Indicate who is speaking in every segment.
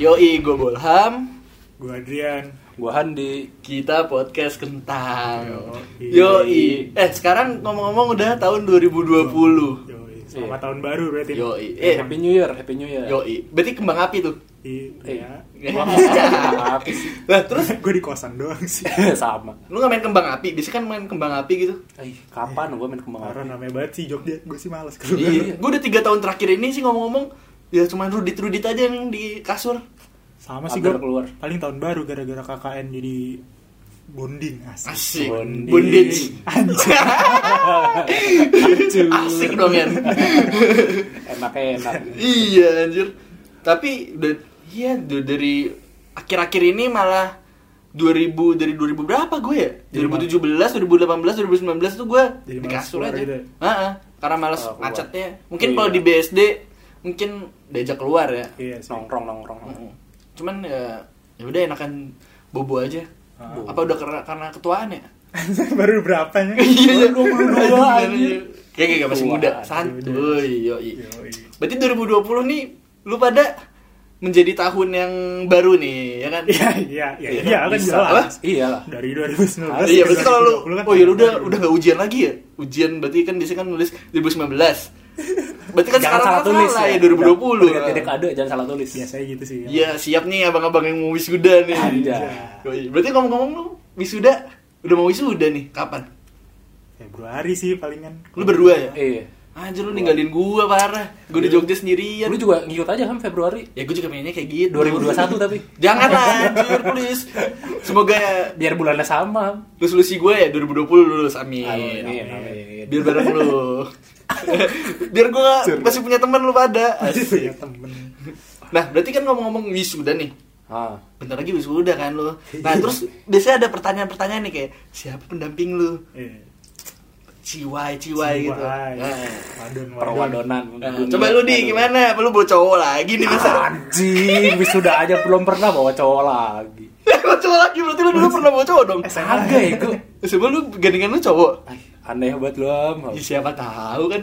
Speaker 1: Yoi, gue Bolham.
Speaker 2: Gue Adrian.
Speaker 3: Gua Handi.
Speaker 1: Kita podcast kentang.
Speaker 2: Yoi.
Speaker 1: Yoi. Eh, sekarang ngomong-ngomong udah tahun 2020.
Speaker 2: Yoi, selamat tahun baru berarti.
Speaker 1: Iya. Yoi. Eh,
Speaker 3: Eh, Happy New Year, Happy New Year.
Speaker 1: yoi. Berarti kembang api tuh.
Speaker 2: Iya.
Speaker 3: Gua mau sama apa sih?
Speaker 1: Lah, terus
Speaker 2: Gue di kosan doang sih.
Speaker 3: sama.
Speaker 1: lu nggak main kembang api? Biasanya kan main kembang api gitu.
Speaker 3: Eh, kapan gua main kembang
Speaker 2: Parah
Speaker 3: api?
Speaker 2: namanya banget sih Jogja. Gue sih males
Speaker 1: Iya.
Speaker 2: keluar.
Speaker 1: Gue udah tiga tahun terakhir ini sih ngomong-ngomong ya cuma rudit-rudit aja yang di kasur.
Speaker 2: Sama sih gue.
Speaker 3: Hampir keluar.
Speaker 2: Paling tahun baru gara-gara KKN jadi bonding asik.
Speaker 1: Asik.
Speaker 3: Bondage.
Speaker 1: Bondage.
Speaker 2: Anjir.
Speaker 1: Asik dong, Yan.
Speaker 3: Enak-enak.
Speaker 1: Iya anjir. Tapi da- iya d- dari akhir-akhir ini malah 2000 dari 2000 berapa gue ya?
Speaker 2: Jadi
Speaker 1: 2017, 2018, 2019 tuh gue
Speaker 2: Jadi
Speaker 1: di
Speaker 2: malas
Speaker 1: kasur
Speaker 2: keluar
Speaker 1: aja.
Speaker 2: gitu ya?
Speaker 1: Heeh, karena malas
Speaker 3: Oh, keluar.
Speaker 1: macetnya. Mungkin
Speaker 3: Iya.
Speaker 1: kalau di BSD mungkin diajak keluar ya.
Speaker 2: Iya sih.
Speaker 3: Nongkrong, nongkrong.
Speaker 1: Mm-mm. Cuman ya ya udah enakan bobo aja.
Speaker 2: Ah.
Speaker 1: Apa udah karena, karena ketuaan ya?
Speaker 2: baru berapa ya?
Speaker 1: Iya,
Speaker 3: 22 anjir.
Speaker 1: Kayak kayak masih muda,
Speaker 3: Wah,
Speaker 1: santuy. Yoi.
Speaker 2: Yoi.
Speaker 1: Berarti 2020 nih lu pada menjadi tahun yang baru nih, ya kan?
Speaker 2: Iya, iya, iya,
Speaker 1: Iya,
Speaker 2: iya, kan
Speaker 1: bisa.
Speaker 2: jelas.
Speaker 3: Iya lah.
Speaker 2: Dari 2019.
Speaker 3: Iya,
Speaker 1: iya,
Speaker 2: ke
Speaker 1: berarti kalau lu oh
Speaker 2: 2020 kan
Speaker 1: ya
Speaker 2: tahun
Speaker 1: udah
Speaker 2: baru.
Speaker 1: udah gak ujian lagi ya? Ujian berarti kan biasanya kan nulis 2019. Berarti kan
Speaker 3: Jangan
Speaker 1: sekarang kan
Speaker 3: salah tulis
Speaker 1: salah ya
Speaker 3: Udah,
Speaker 1: 2020.
Speaker 3: Tidak ada, jangan salah tulis.
Speaker 2: Biasanya gitu sih.
Speaker 1: Ah. Iya, siap nih abang-abang yang mau wisuda nih.
Speaker 3: Ada.
Speaker 1: Yoi. Berarti ngomong-ngomong lu wisuda udah mau wisuda nih, kapan?
Speaker 2: Februari sih palingan.
Speaker 1: Lu berdua ya?
Speaker 3: Iya.
Speaker 1: Anjir lu ninggalin gua parah. Gua di Jogja sendirian.
Speaker 3: Lu juga ngikut aja kan Februari
Speaker 1: Ya gue juga pengennya kayak gitu
Speaker 3: 2021 tapi.
Speaker 1: Jangan lah anjir please Semoga
Speaker 3: biar bulannya sama.
Speaker 1: lulus lusi gue ya 2020 lulus amin,
Speaker 3: Amin. amin.
Speaker 1: Biar bareng lu Biar gue masih punya teman lu pada
Speaker 2: Punya
Speaker 1: Asik.
Speaker 2: Iya, temen.
Speaker 1: Nah berarti kan ngomong-ngomong wisuda nih
Speaker 3: Ah.
Speaker 1: Bentar lagi wisuda kan lu Nah terus biasanya ada pertanyaan-pertanyaan nih kayak Siapa pendamping lu?
Speaker 2: Iya.
Speaker 1: Ciwai, ciwai gitu
Speaker 2: Ciwai.
Speaker 1: Nah.
Speaker 2: Wadon, wadon.
Speaker 3: Perwadonan.
Speaker 1: Nah, coba lu di gimana? Apa Lu bawa cowok lagi nih masa?
Speaker 3: Ah, Anjing, wisuda aja belum pernah bawa cowok lagi.
Speaker 1: Bawa cowok lagi berarti lu dulu pernah bawa cowok dong?
Speaker 3: Kagak ya, gua.
Speaker 1: Sebelum lu gandingan lu cowok
Speaker 3: Ay, aneh banget lu, Am.
Speaker 1: Ya,
Speaker 2: Iya.
Speaker 1: siapa tahu kan.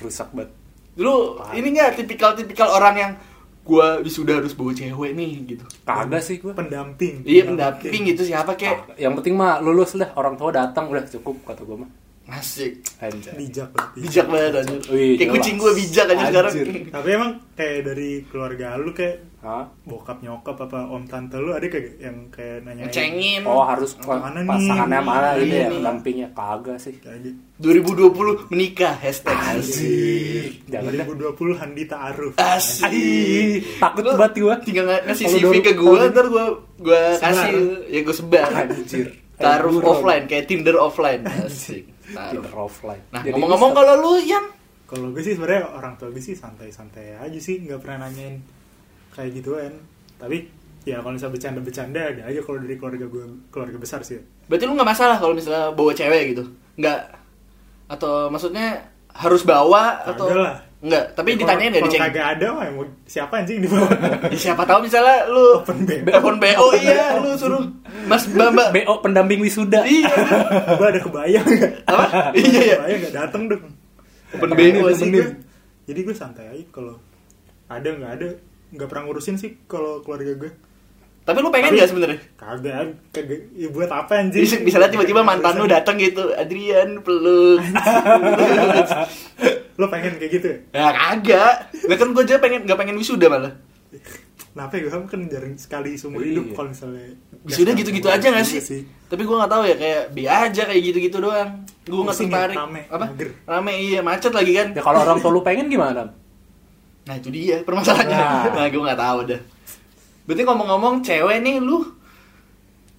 Speaker 3: Rusak banget.
Speaker 1: Lu ini enggak tipikal-tipikal orang yang gua wisuda harus bawa cewek nih gitu.
Speaker 3: Kagak sih gua.
Speaker 2: Pendamping.
Speaker 1: Iya pendamping gitu siapa kek.
Speaker 3: Ah, Yang penting mah lulus lah, orang tua datang udah cukup kata gua mah.
Speaker 1: Asik.
Speaker 3: Anjay.
Speaker 2: Bijak berarti.
Speaker 1: Bijak banget anjir.
Speaker 3: Ah. Wih,
Speaker 1: Kayak
Speaker 3: jelas.
Speaker 1: kucing gua bijak aja
Speaker 3: Anjir.
Speaker 1: sekarang.
Speaker 2: Tapi emang kayak dari keluarga lu kayak
Speaker 3: Hah?
Speaker 2: bokap nyokap apa om tante lu ada kayak yang kayak nanya
Speaker 1: Ngecengin.
Speaker 3: Oh harus
Speaker 2: Mana nih?
Speaker 3: pasangannya mana gitu ya
Speaker 1: Ini.
Speaker 3: pendampingnya kagak sih.
Speaker 2: aja.
Speaker 1: 2020 menikah hashtag.
Speaker 3: Jangan dah.
Speaker 2: 2020 Handi Ta'aruf.
Speaker 1: Asik.
Speaker 3: Ih, takut
Speaker 1: Lu
Speaker 3: banget gua.
Speaker 1: Tinggal ng- ngasih
Speaker 3: Kalau
Speaker 1: CV
Speaker 3: dulu-
Speaker 1: ke gua
Speaker 3: kalau-
Speaker 1: ntar gua gua
Speaker 2: Sebar.
Speaker 1: kasih ya gua sebar.
Speaker 3: Anjir.
Speaker 1: Taruh
Speaker 3: Buron.
Speaker 1: offline kayak Tinder offline. Asik. Taruh.
Speaker 3: Tinder offline.
Speaker 1: Nah,
Speaker 3: Jadi
Speaker 1: ngomong-ngomong
Speaker 3: bisa.
Speaker 1: kalau lu yang
Speaker 2: Kalau gue sih sebenarnya orang tua gue sih santai-santai aja sih, nggak pernah nanyain kayak gituan. Tapi ya kalau misalnya bercanda-bercanda ada aja kalau dari keluarga gue keluarga besar sih.
Speaker 1: Berarti lu nggak masalah kalau misalnya bawa cewek gitu? Nggak? Atau maksudnya harus bawa
Speaker 2: Kagak
Speaker 1: atau
Speaker 2: lah.
Speaker 1: nggak? Tapi
Speaker 2: Ya,
Speaker 1: ditanyain nggak
Speaker 2: kalau-
Speaker 1: dicek?
Speaker 2: Kalau kagak ada mah mau siapa anjing di bawah.
Speaker 1: Ya, siapa tahu misalnya lu
Speaker 2: Open BO.
Speaker 1: Open BO iya lu suruh Mas Bamba
Speaker 3: BO pendamping wisuda.
Speaker 1: iya
Speaker 2: gue ada kebayang.
Speaker 1: apa iya iya
Speaker 2: Kebayang nggak dateng dong.
Speaker 1: Open
Speaker 2: Tapi
Speaker 1: BO
Speaker 2: gua sih,
Speaker 1: sih
Speaker 2: gue- Jadi gue santai aja kalau ada nggak ada nggak pernah ngurusin sih kalau keluarga gue.
Speaker 1: tapi lu pengen
Speaker 2: Tapi-
Speaker 1: nggak sebenarnya
Speaker 2: Kagak, kagak. Ya buat apa anjing?
Speaker 1: Jadi misalnya tiba-tiba mantan lu datang gitu Adrian peluk
Speaker 2: Lo pengen kayak gitu ya?
Speaker 1: ya kagak lah kan gue aja pengen nggak pengen wisuda malah
Speaker 2: Kenapa ya? Gue kan jarang sekali seumur
Speaker 3: Iya.
Speaker 2: hidup kalau misalnya
Speaker 1: wisuda
Speaker 2: Biasa
Speaker 1: Ya gitu-gitu
Speaker 2: seumur
Speaker 1: aja nggak
Speaker 2: hidup
Speaker 1: sih? tapi gue nggak tahu ya kayak bi aja kayak gitu-gitu doang gue nggak
Speaker 2: Pusing ya,
Speaker 1: tertarik
Speaker 2: rame,
Speaker 1: apa
Speaker 2: mager.
Speaker 1: rame iya macet lagi kan
Speaker 3: Ya kalau orang tua lu pengen gimana?
Speaker 1: Nah itu dia permasalahannya.
Speaker 3: Nah.
Speaker 1: Nah, gue nggak tahu dah. Berarti ngomong-ngomong cewek nih lu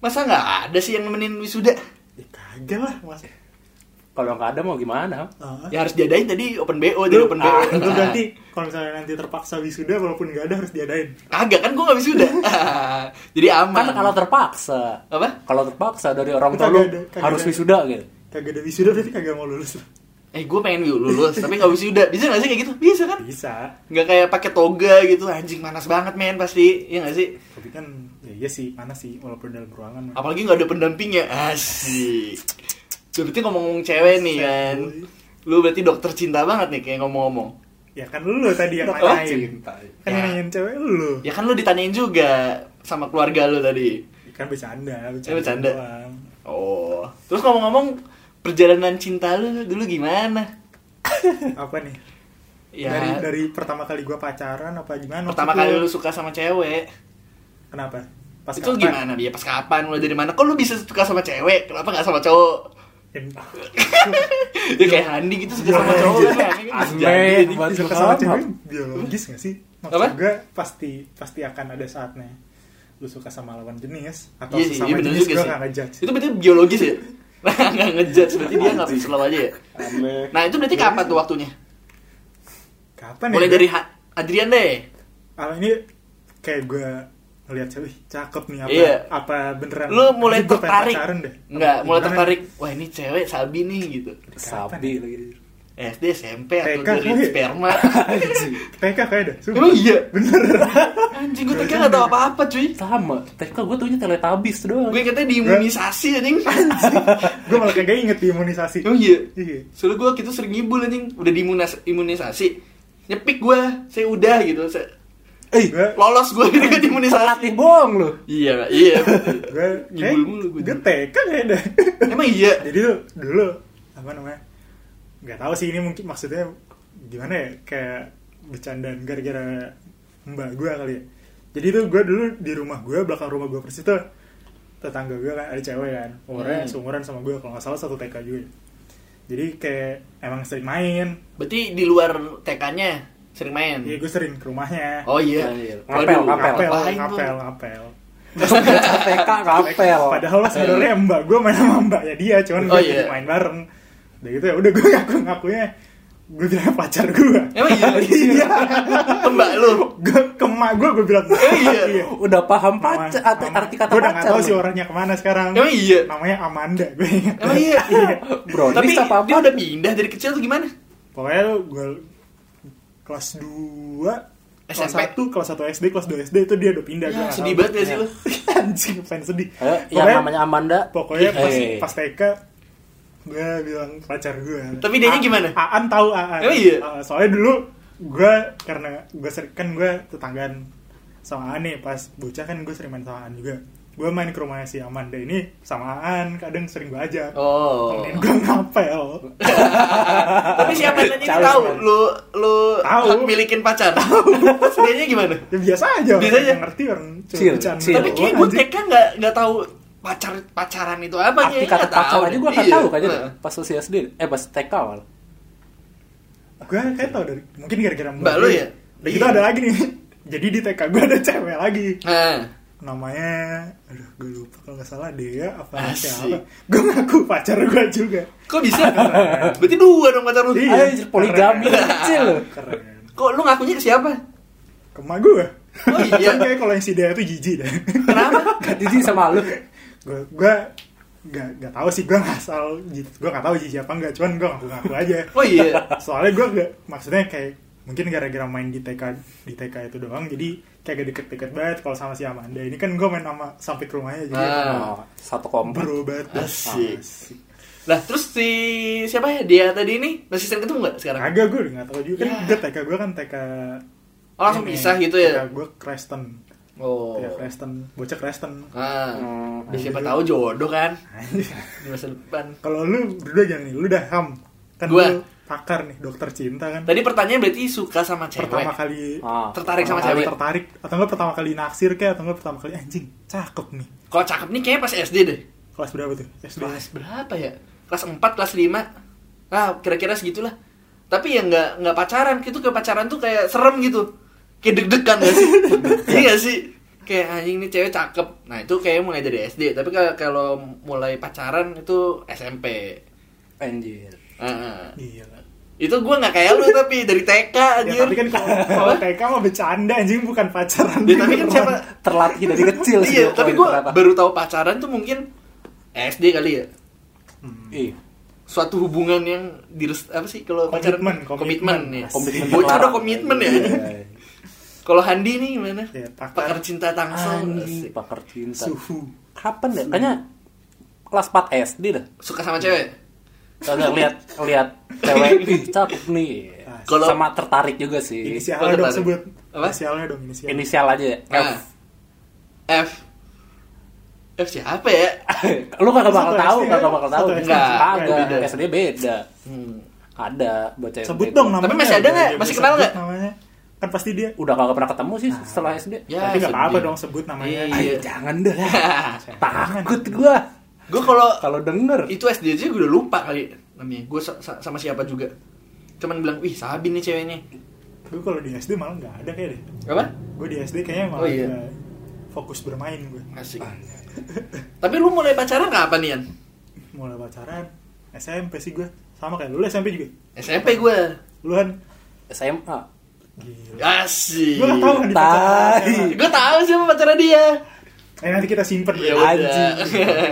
Speaker 1: masa nggak ada sih yang nemenin wisuda?
Speaker 2: Ya kagak lah mas
Speaker 3: Kalau nggak ada mau gimana?
Speaker 2: Ah.
Speaker 1: Ya harus diadain tadi open BO dari open BO.
Speaker 3: ah,
Speaker 2: Lu
Speaker 1: Nah,
Speaker 2: ganti kalau misalnya nanti terpaksa wisuda walaupun nggak ada harus diadain.
Speaker 1: Kagak kan gue nggak wisuda. Jadi aman.
Speaker 3: Kan kalau terpaksa.
Speaker 1: apa?
Speaker 3: Kalau terpaksa dari orang tua
Speaker 2: Kagak
Speaker 3: lu
Speaker 2: ada, kagak
Speaker 3: harus
Speaker 2: ada.
Speaker 3: wisuda gitu.
Speaker 2: Kagak ada wisuda berarti kagak mau lulus.
Speaker 1: Eh gue pengen lulus tapi nggak wisuda. Bisa nggak sih kayak gitu? Bisa kan?
Speaker 2: Bisa,
Speaker 1: Nggak kayak pakai toga gitu anjing panas banget men pasti ya nggak sih?
Speaker 2: tapi kan ya iya sih mana sih walaupun dalam ruangan. mah.
Speaker 1: Apalagi nggak ada pendampingnya asik. Berarti ngomong-ngomong cewek nih kan, lu berarti dokter cinta banget nih kayak ngomong-ngomong.
Speaker 2: Ya kan lu tadi yang
Speaker 3: Udah tahu
Speaker 2: nanyain.
Speaker 3: cinta.
Speaker 2: Kan yang
Speaker 1: Ya.
Speaker 2: nanyain cewek lu.
Speaker 1: Ya kan lu ditanyain juga sama keluarga lu tadi.
Speaker 2: Kan bercanda,
Speaker 1: Ya,
Speaker 2: bercanda,
Speaker 1: bercanda.
Speaker 2: doang.
Speaker 1: Oh. Terus ngomong-ngomong perjalanan cinta lu dulu gimana?
Speaker 2: Apa nih?
Speaker 1: Ya
Speaker 2: Dari Iya. dari pertama kali gua pacaran apa gimana?
Speaker 1: pertama
Speaker 2: waktu
Speaker 1: kali
Speaker 2: itu?
Speaker 1: lu suka sama cewek.
Speaker 2: Kenapa? Pas
Speaker 1: itu
Speaker 2: kapan?
Speaker 1: gimana dia pas kapan mulai dari mana kok lu bisa suka sama cewek kenapa nggak sama cowok
Speaker 2: ah, Iya.
Speaker 1: ya kayak Handi gitu suka sama cowok kan aneh kan?
Speaker 3: Aneh, buat
Speaker 2: Bisa
Speaker 3: lu
Speaker 2: sama cewek
Speaker 3: kan.
Speaker 2: biologis gak sih?
Speaker 1: Apa?
Speaker 2: Maksud gue pasti pasti akan ada saatnya lu suka sama lawan jenis atau
Speaker 1: Iya sih,
Speaker 2: sesama
Speaker 1: iya bener
Speaker 2: jenis
Speaker 1: juga
Speaker 2: gue
Speaker 1: sih.
Speaker 2: gak ngejudge.
Speaker 1: Itu berarti biologis ya? Nggak ngejudge, berarti dia nggak slow aja ya?
Speaker 3: Aneh.
Speaker 1: Nah itu berarti kapan tuh waktunya?
Speaker 2: Kapan
Speaker 1: Mulai
Speaker 2: ya?
Speaker 1: dari Ha- Adrian deh
Speaker 2: Ah, ini kayak gue ngeliat cewek, "Ih, cakep nih apa
Speaker 1: Iya.
Speaker 2: apa beneran?
Speaker 1: Lu mulai
Speaker 2: Ini gua pengen
Speaker 1: tertarik
Speaker 2: pacaran deh.
Speaker 1: Nggak, mulai
Speaker 2: Gimana?
Speaker 1: tertarik Wah ini cewek sabi nih gitu
Speaker 2: ya
Speaker 3: Sabi lagi.
Speaker 1: SD, SMP, atau
Speaker 2: TK,
Speaker 1: dari
Speaker 2: woi.
Speaker 1: sperma
Speaker 3: Anjing.
Speaker 2: TK kayak ya deh. sumpah.
Speaker 1: Emang iya?
Speaker 2: Bener.
Speaker 1: Anjing gue TK nggak tau apa-apa cuy
Speaker 3: Sama. TK gue tuhnya teletabis doang.
Speaker 1: Gue katanya diimunisasi anjing Anjing
Speaker 2: gue malah kagak inget di imunisasi.
Speaker 1: Emang iya?
Speaker 2: Iya.
Speaker 1: Soalnya gue gitu sering ngibul anjing Udah diimunas- imunisasi Nyepik gue, saya udah gitu saya...
Speaker 3: Eh,
Speaker 2: Gue
Speaker 1: Lolos gue gitu kan imunisasi
Speaker 3: Latih bohong lu.
Speaker 1: Iya, iya
Speaker 2: gue
Speaker 1: Ngibul mulu gue
Speaker 2: gue TK kayak deh.
Speaker 1: Emang iya?
Speaker 2: Jadi tuh dulu apa namanya? Gak tahu sih ini mungkin maksudnya gimana ya? Kayak bercandaan gara-gara mbak gue kali ya. Jadi tuh gue dulu di rumah gue belakang rumah gue persis tuh tetangga gue kan ada cewek kan umurnya
Speaker 1: Hmm.
Speaker 2: seumuran sama gue kalau nggak salah satu TK juga jadi kayak emang sering main
Speaker 1: Berarti di luar TK-nya sering main.
Speaker 2: Iya gue sering ke rumahnya
Speaker 1: Oh iya.
Speaker 3: Iya, iya.
Speaker 1: Waduh,
Speaker 3: Ngapel,
Speaker 2: ngapel
Speaker 1: ngapain tuh?
Speaker 2: ngapel ngapel
Speaker 3: TK ngapel.
Speaker 2: Padahal lah sebenarnya mbak gue main sama mbaknya dia, cuman
Speaker 1: Oh,
Speaker 2: gue
Speaker 1: iya.
Speaker 2: main bareng. Udah gitu ya, udah gue ngaku ngakunya gue bilang pacar gue.
Speaker 1: Emang iya?
Speaker 2: Iya.
Speaker 1: Tembak lu.
Speaker 2: Gue ke emak gue gue bilang.
Speaker 1: iya.
Speaker 3: Udah paham
Speaker 2: Mama,
Speaker 3: pacar arti,
Speaker 2: mama.
Speaker 3: arti kata
Speaker 2: Gue udah nggak
Speaker 3: pacar.
Speaker 2: tahu
Speaker 3: lu.
Speaker 2: sih orangnya kemana sekarang.
Speaker 1: Emang iya?
Speaker 2: Namanya Amanda gue ingat.
Speaker 1: Emang iya.
Speaker 3: Bro, Eh,
Speaker 1: Tapi
Speaker 3: ini apa
Speaker 1: dia udah pindah dari kecil tuh gimana?
Speaker 2: Pokoknya tuh gue kelas 2 kelas
Speaker 1: SMP.
Speaker 2: 1, kelas 1 SD, kelas 2 SD itu dia udah pindah. gue
Speaker 1: Ya,
Speaker 2: nggak
Speaker 1: sedih
Speaker 2: tahu.
Speaker 1: banget gak sih
Speaker 3: Iya.
Speaker 1: lu?
Speaker 2: Anjing, pengen sedih.
Speaker 3: Ayo,
Speaker 2: Pokoknya-
Speaker 3: yang Eh, iya, ya, namanya Amanda. Eh, iya.
Speaker 2: pokoknya pas,
Speaker 3: Hey.
Speaker 2: pas TK gue bilang pacar gue
Speaker 1: Tapi dianya
Speaker 2: A-
Speaker 1: gimana?
Speaker 2: Aan tahu Aan
Speaker 1: Emang iya?
Speaker 2: Uh, soalnya dulu gue karena gue sering kan gue tetanggaan sama Aan nih pas bocah kan gue sering main sama Aan juga gue main ke rumahnya si Amanda ini sama Aan kadang sering gue ajak
Speaker 1: Oh.
Speaker 2: Temenin gue ngapel
Speaker 1: Tapi siapa yang nanya
Speaker 3: Calon
Speaker 1: tahu
Speaker 3: sebenarnya.
Speaker 1: lu lu
Speaker 2: Tahu.
Speaker 1: hak milikin pacar. Sedianya gimana?
Speaker 2: ya biasa aja
Speaker 1: Biasa
Speaker 2: orang
Speaker 1: aja.
Speaker 2: yang ngerti orang cuma
Speaker 3: Chill,
Speaker 2: bercanda
Speaker 3: chill.
Speaker 1: Tapi
Speaker 2: doang,
Speaker 1: kayak gue
Speaker 2: anjing.
Speaker 1: TK nggak nggak tahu pacar pacaran itu apa
Speaker 3: arti kata pacar aja
Speaker 1: Iya.
Speaker 3: gue nggak tahu kan, kayaknya deh, pas usia SD eh pas TK awal
Speaker 2: gue kayak tau dari mungkin gara-gara
Speaker 1: Mbak lu ya?
Speaker 2: Udah gitu
Speaker 1: Iya.
Speaker 2: ada lagi nih jadi di TK gue ada cewek lagi
Speaker 1: Nah,
Speaker 2: namanya aduh gue lupa kalau nggak salah Dea apa
Speaker 1: Asik.
Speaker 2: siapa gue ngaku pacar gue juga
Speaker 1: kok bisa? Berarti dua dong pacar lu.
Speaker 2: Iya.
Speaker 3: anjir poligami
Speaker 2: Keren.
Speaker 3: kecil lu.
Speaker 2: keren
Speaker 1: Kok lu ngakunya ke siapa?
Speaker 2: kema gue
Speaker 1: Oh iya.
Speaker 2: Kan kayak kalau yang si Dea itu jijik deh
Speaker 1: Kenapa?
Speaker 3: gak jijik sama lu
Speaker 2: gue gue gak gak tahu sih gue nggak asal gue nggak tahu jijik apa enggak cuman gue ngaku ngaku aja
Speaker 1: Oh iya.
Speaker 2: soalnya gue gak maksudnya kayak mungkin gara-gara main di TK di TK itu doang jadi kayak gak deket-deket banget kalau sama si Amanda ini kan gue main sama sampai ke rumahnya jadi
Speaker 1: Ah.
Speaker 3: oh, satu kompak
Speaker 2: bro banget
Speaker 1: Asik. Lah terus si siapa ya dia tadi ini masih sering ketemu nggak sekarang?
Speaker 2: Agak gue udah gak tau juga kan
Speaker 1: Ya.
Speaker 2: gue TK gue kan TK
Speaker 1: Oh, langsung
Speaker 2: ini,
Speaker 1: pisah gitu ya?
Speaker 2: TK gue iya. Kristen
Speaker 1: Oh.
Speaker 2: TK Kristen Bocah Kristen Oh.
Speaker 1: Ah,
Speaker 3: Hmm,
Speaker 1: siapa tahu jodoh kan di masa depan.
Speaker 2: Kalau lu berdua jangan nih Lu udah ham Kan
Speaker 1: Gua.
Speaker 2: lu pakar nih Dokter cinta kan
Speaker 1: Tadi pertanyaan berarti suka sama cewek.
Speaker 2: Pertama kali
Speaker 3: ah.
Speaker 1: Tertarik sama
Speaker 2: pertama kali
Speaker 1: cewek.
Speaker 2: tertarik Atau enggak pertama kali naksir kayak Atau enggak pertama kali anjing Cakep nih
Speaker 1: Kalau cakep nih kayaknya pas SD deh.
Speaker 2: Kelas berapa tuh? SD
Speaker 1: Kelas berapa ya? Kelas 4, kelas 5. Ah, kira-kira segitulah. Tapi ya nggak nggak pacaran gitu ke pacaran tuh kayak serem gitu. Kayak deg-degan gak sih? iya gak sih? Kayak anjing ini cewek cakep. Nah, itu kayaknya mulai dari SD. Tapi kalau- kalau mulai pacaran itu SMP.
Speaker 3: anjir
Speaker 1: Ah, ah.
Speaker 2: Gila
Speaker 1: Itu gua nggak kayak lu tapi dari TK
Speaker 2: Ya
Speaker 1: anjir.
Speaker 2: Iya, kan. tapi kan kalau kalau TK mah bercanda anjing Bukan pacaran
Speaker 1: Ya, tapi kan
Speaker 2: beneran.
Speaker 1: siapa
Speaker 3: terlatih dari kecil sih
Speaker 1: Iya,
Speaker 3: gua
Speaker 1: tapi
Speaker 3: poin
Speaker 1: gua
Speaker 3: ternyata.
Speaker 1: baru tahu pacaran tuh mungkin SD kali ya.
Speaker 2: Hmm.
Speaker 1: Iya,
Speaker 3: Ih,
Speaker 1: Suatu hubungan yang direst apa sih kalau pacaran
Speaker 2: Komitmen, komitmen.
Speaker 1: komitmen ya.
Speaker 3: komitmen
Speaker 1: Bocah
Speaker 3: terlarang.
Speaker 1: udah komitmen ya.
Speaker 3: Iya.
Speaker 1: Kalau Handi nih gimana?
Speaker 2: Ya, pakar.
Speaker 1: Pakar cinta tangsel.
Speaker 3: anjing pakar cinta
Speaker 2: Suhu
Speaker 3: kapan deh kayaknya kelas 4 SD dah
Speaker 1: Suka sama cewek?
Speaker 3: Kagak lihat lihat cewek ih cakep nih.
Speaker 1: Kalau-
Speaker 3: sama tertarik juga sih.
Speaker 1: Kalau
Speaker 2: Inisialnya dong
Speaker 1: tertarik.
Speaker 2: sebut.
Speaker 1: Iya, Apa?
Speaker 2: Inisialnya dong inisial.
Speaker 3: Inisial aja ya.
Speaker 1: Nah. F F siapa ya
Speaker 3: Lu kagak bakal
Speaker 2: Satu
Speaker 3: tahu,
Speaker 2: SD,
Speaker 3: kagak bakal
Speaker 2: satu
Speaker 3: tahu.
Speaker 2: SD.
Speaker 1: Enggak, beda.
Speaker 3: Kagak. SD beda.
Speaker 1: hmm.
Speaker 3: Ada bocah yang
Speaker 2: Sebut
Speaker 3: bego.
Speaker 2: dong namanya.
Speaker 1: Tapi masih ada nggak?
Speaker 2: Jangan
Speaker 1: Masih
Speaker 2: sebut
Speaker 1: kenal nggak?
Speaker 2: Namanya. Kan pasti dia.
Speaker 3: Udah kagak pernah ketemu sih setelah SD.
Speaker 1: Ya,
Speaker 2: Tapi nggak apa-apa
Speaker 1: sedih.
Speaker 2: dong sebut namanya.
Speaker 1: Iya.
Speaker 3: Ayo jangan deh. Takut gua
Speaker 1: gue kalau
Speaker 3: kalau denger.
Speaker 1: itu SD aja gue udah lupa kali namanya gue sa- sa- sama siapa juga cuman bilang wih Sabin nih ceweknya
Speaker 2: Gue kalau di SD malah nggak ada kayak deh.
Speaker 1: apa
Speaker 2: Gue di SD kayaknya
Speaker 1: Oh,
Speaker 2: malah
Speaker 1: iya.
Speaker 2: nggak fokus bermain gue.
Speaker 1: asik
Speaker 3: Ah.
Speaker 1: tapi lu mulai pacaran kapan Ian
Speaker 2: Mulai pacaran SMP sih gue. Sama kayak lu, lu SMP juga.
Speaker 1: SMP gue
Speaker 2: Lu kan
Speaker 3: SMA.
Speaker 2: gila.
Speaker 1: asik
Speaker 2: Gue nggak tahu kan di pacaran.
Speaker 3: Tai.
Speaker 2: SMA.
Speaker 1: gue tahu siapa pacaran dia
Speaker 2: Eh nanti kita simpen
Speaker 1: Ya
Speaker 2: deh.
Speaker 1: udah.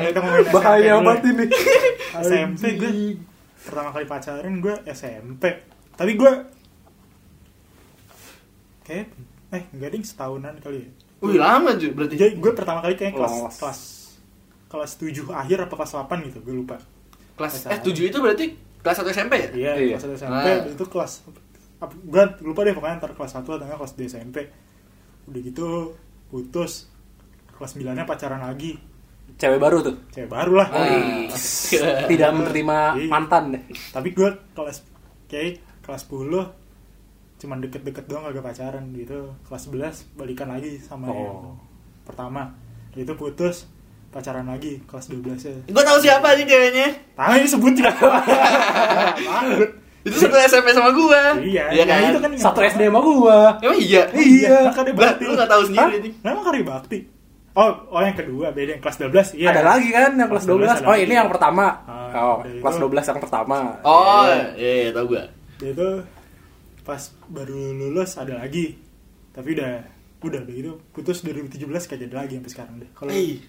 Speaker 2: Kita ngomongin SMP
Speaker 3: Bahaya
Speaker 2: dulu.
Speaker 3: banget ini.
Speaker 2: SMP gue pertama kali pacaran gue SMP tapi gue kayak eh enggak ding setahunan kali ya
Speaker 1: wih lama tuh berarti
Speaker 2: jadi gue pertama kali kayak kelas
Speaker 3: Lolos.
Speaker 2: kelas kelas tujuh akhir apa kelas 8 gitu gue lupa
Speaker 1: kelas eh
Speaker 2: pacaran.
Speaker 1: tujuh itu berarti kelas satu SMP ya
Speaker 2: iya
Speaker 3: Iya.
Speaker 2: kelas satu SMP
Speaker 1: Ah.
Speaker 2: abis itu kelas ap- gue lupa deh pokoknya antar kelas 1 atau enggak kelas 2 SMP udah gitu putus kelas 9 nya pacaran lagi
Speaker 3: Cewek baru tuh.
Speaker 2: cewek baru lah
Speaker 1: Ah.
Speaker 3: Nah. Tidak menerima
Speaker 2: Iya.
Speaker 3: mantan deh.
Speaker 2: tapi gue kelas kayak kelas 10 cuman deket-deket doang agak pacaran gitu kelas 11 balikan lagi sama
Speaker 3: Oh.
Speaker 2: yang pertama itu putus pacaran lagi kelas 12 ya
Speaker 1: gue tahu siapa sih ceweknya
Speaker 2: tangan ini sebut ya. tidak Takut.
Speaker 1: itu satu SMP sama gue
Speaker 2: iya
Speaker 1: iya
Speaker 2: nah,
Speaker 1: kan,
Speaker 2: itu kan yang
Speaker 3: Satu
Speaker 2: pertama.
Speaker 3: SD sama gua.
Speaker 1: emang iya
Speaker 2: iya
Speaker 3: Iya.
Speaker 2: kan dia
Speaker 1: Lah,
Speaker 2: bakti
Speaker 1: lu nggak tahu sendiri
Speaker 2: Hah?
Speaker 1: nih.
Speaker 2: Nah, emang karya bakti oh oh yang kedua beda yang kelas 12 iya
Speaker 3: Ada lagi kan yang kelas
Speaker 2: Kelas 12
Speaker 3: 12.
Speaker 2: ada
Speaker 3: Oh,
Speaker 2: lagi.
Speaker 3: ini yang pertama.
Speaker 2: Ah,
Speaker 3: Oh,
Speaker 2: udah
Speaker 3: kelas
Speaker 2: itu.
Speaker 3: 12 yang pertama.
Speaker 1: oh
Speaker 3: Iya.
Speaker 1: iya, iya tahu gue
Speaker 2: Dia itu pas baru lulus ada lagi tapi udah udah udah gitu putus 2017 kayak jadi lagi sampai sekarang deh kalau
Speaker 1: Eh.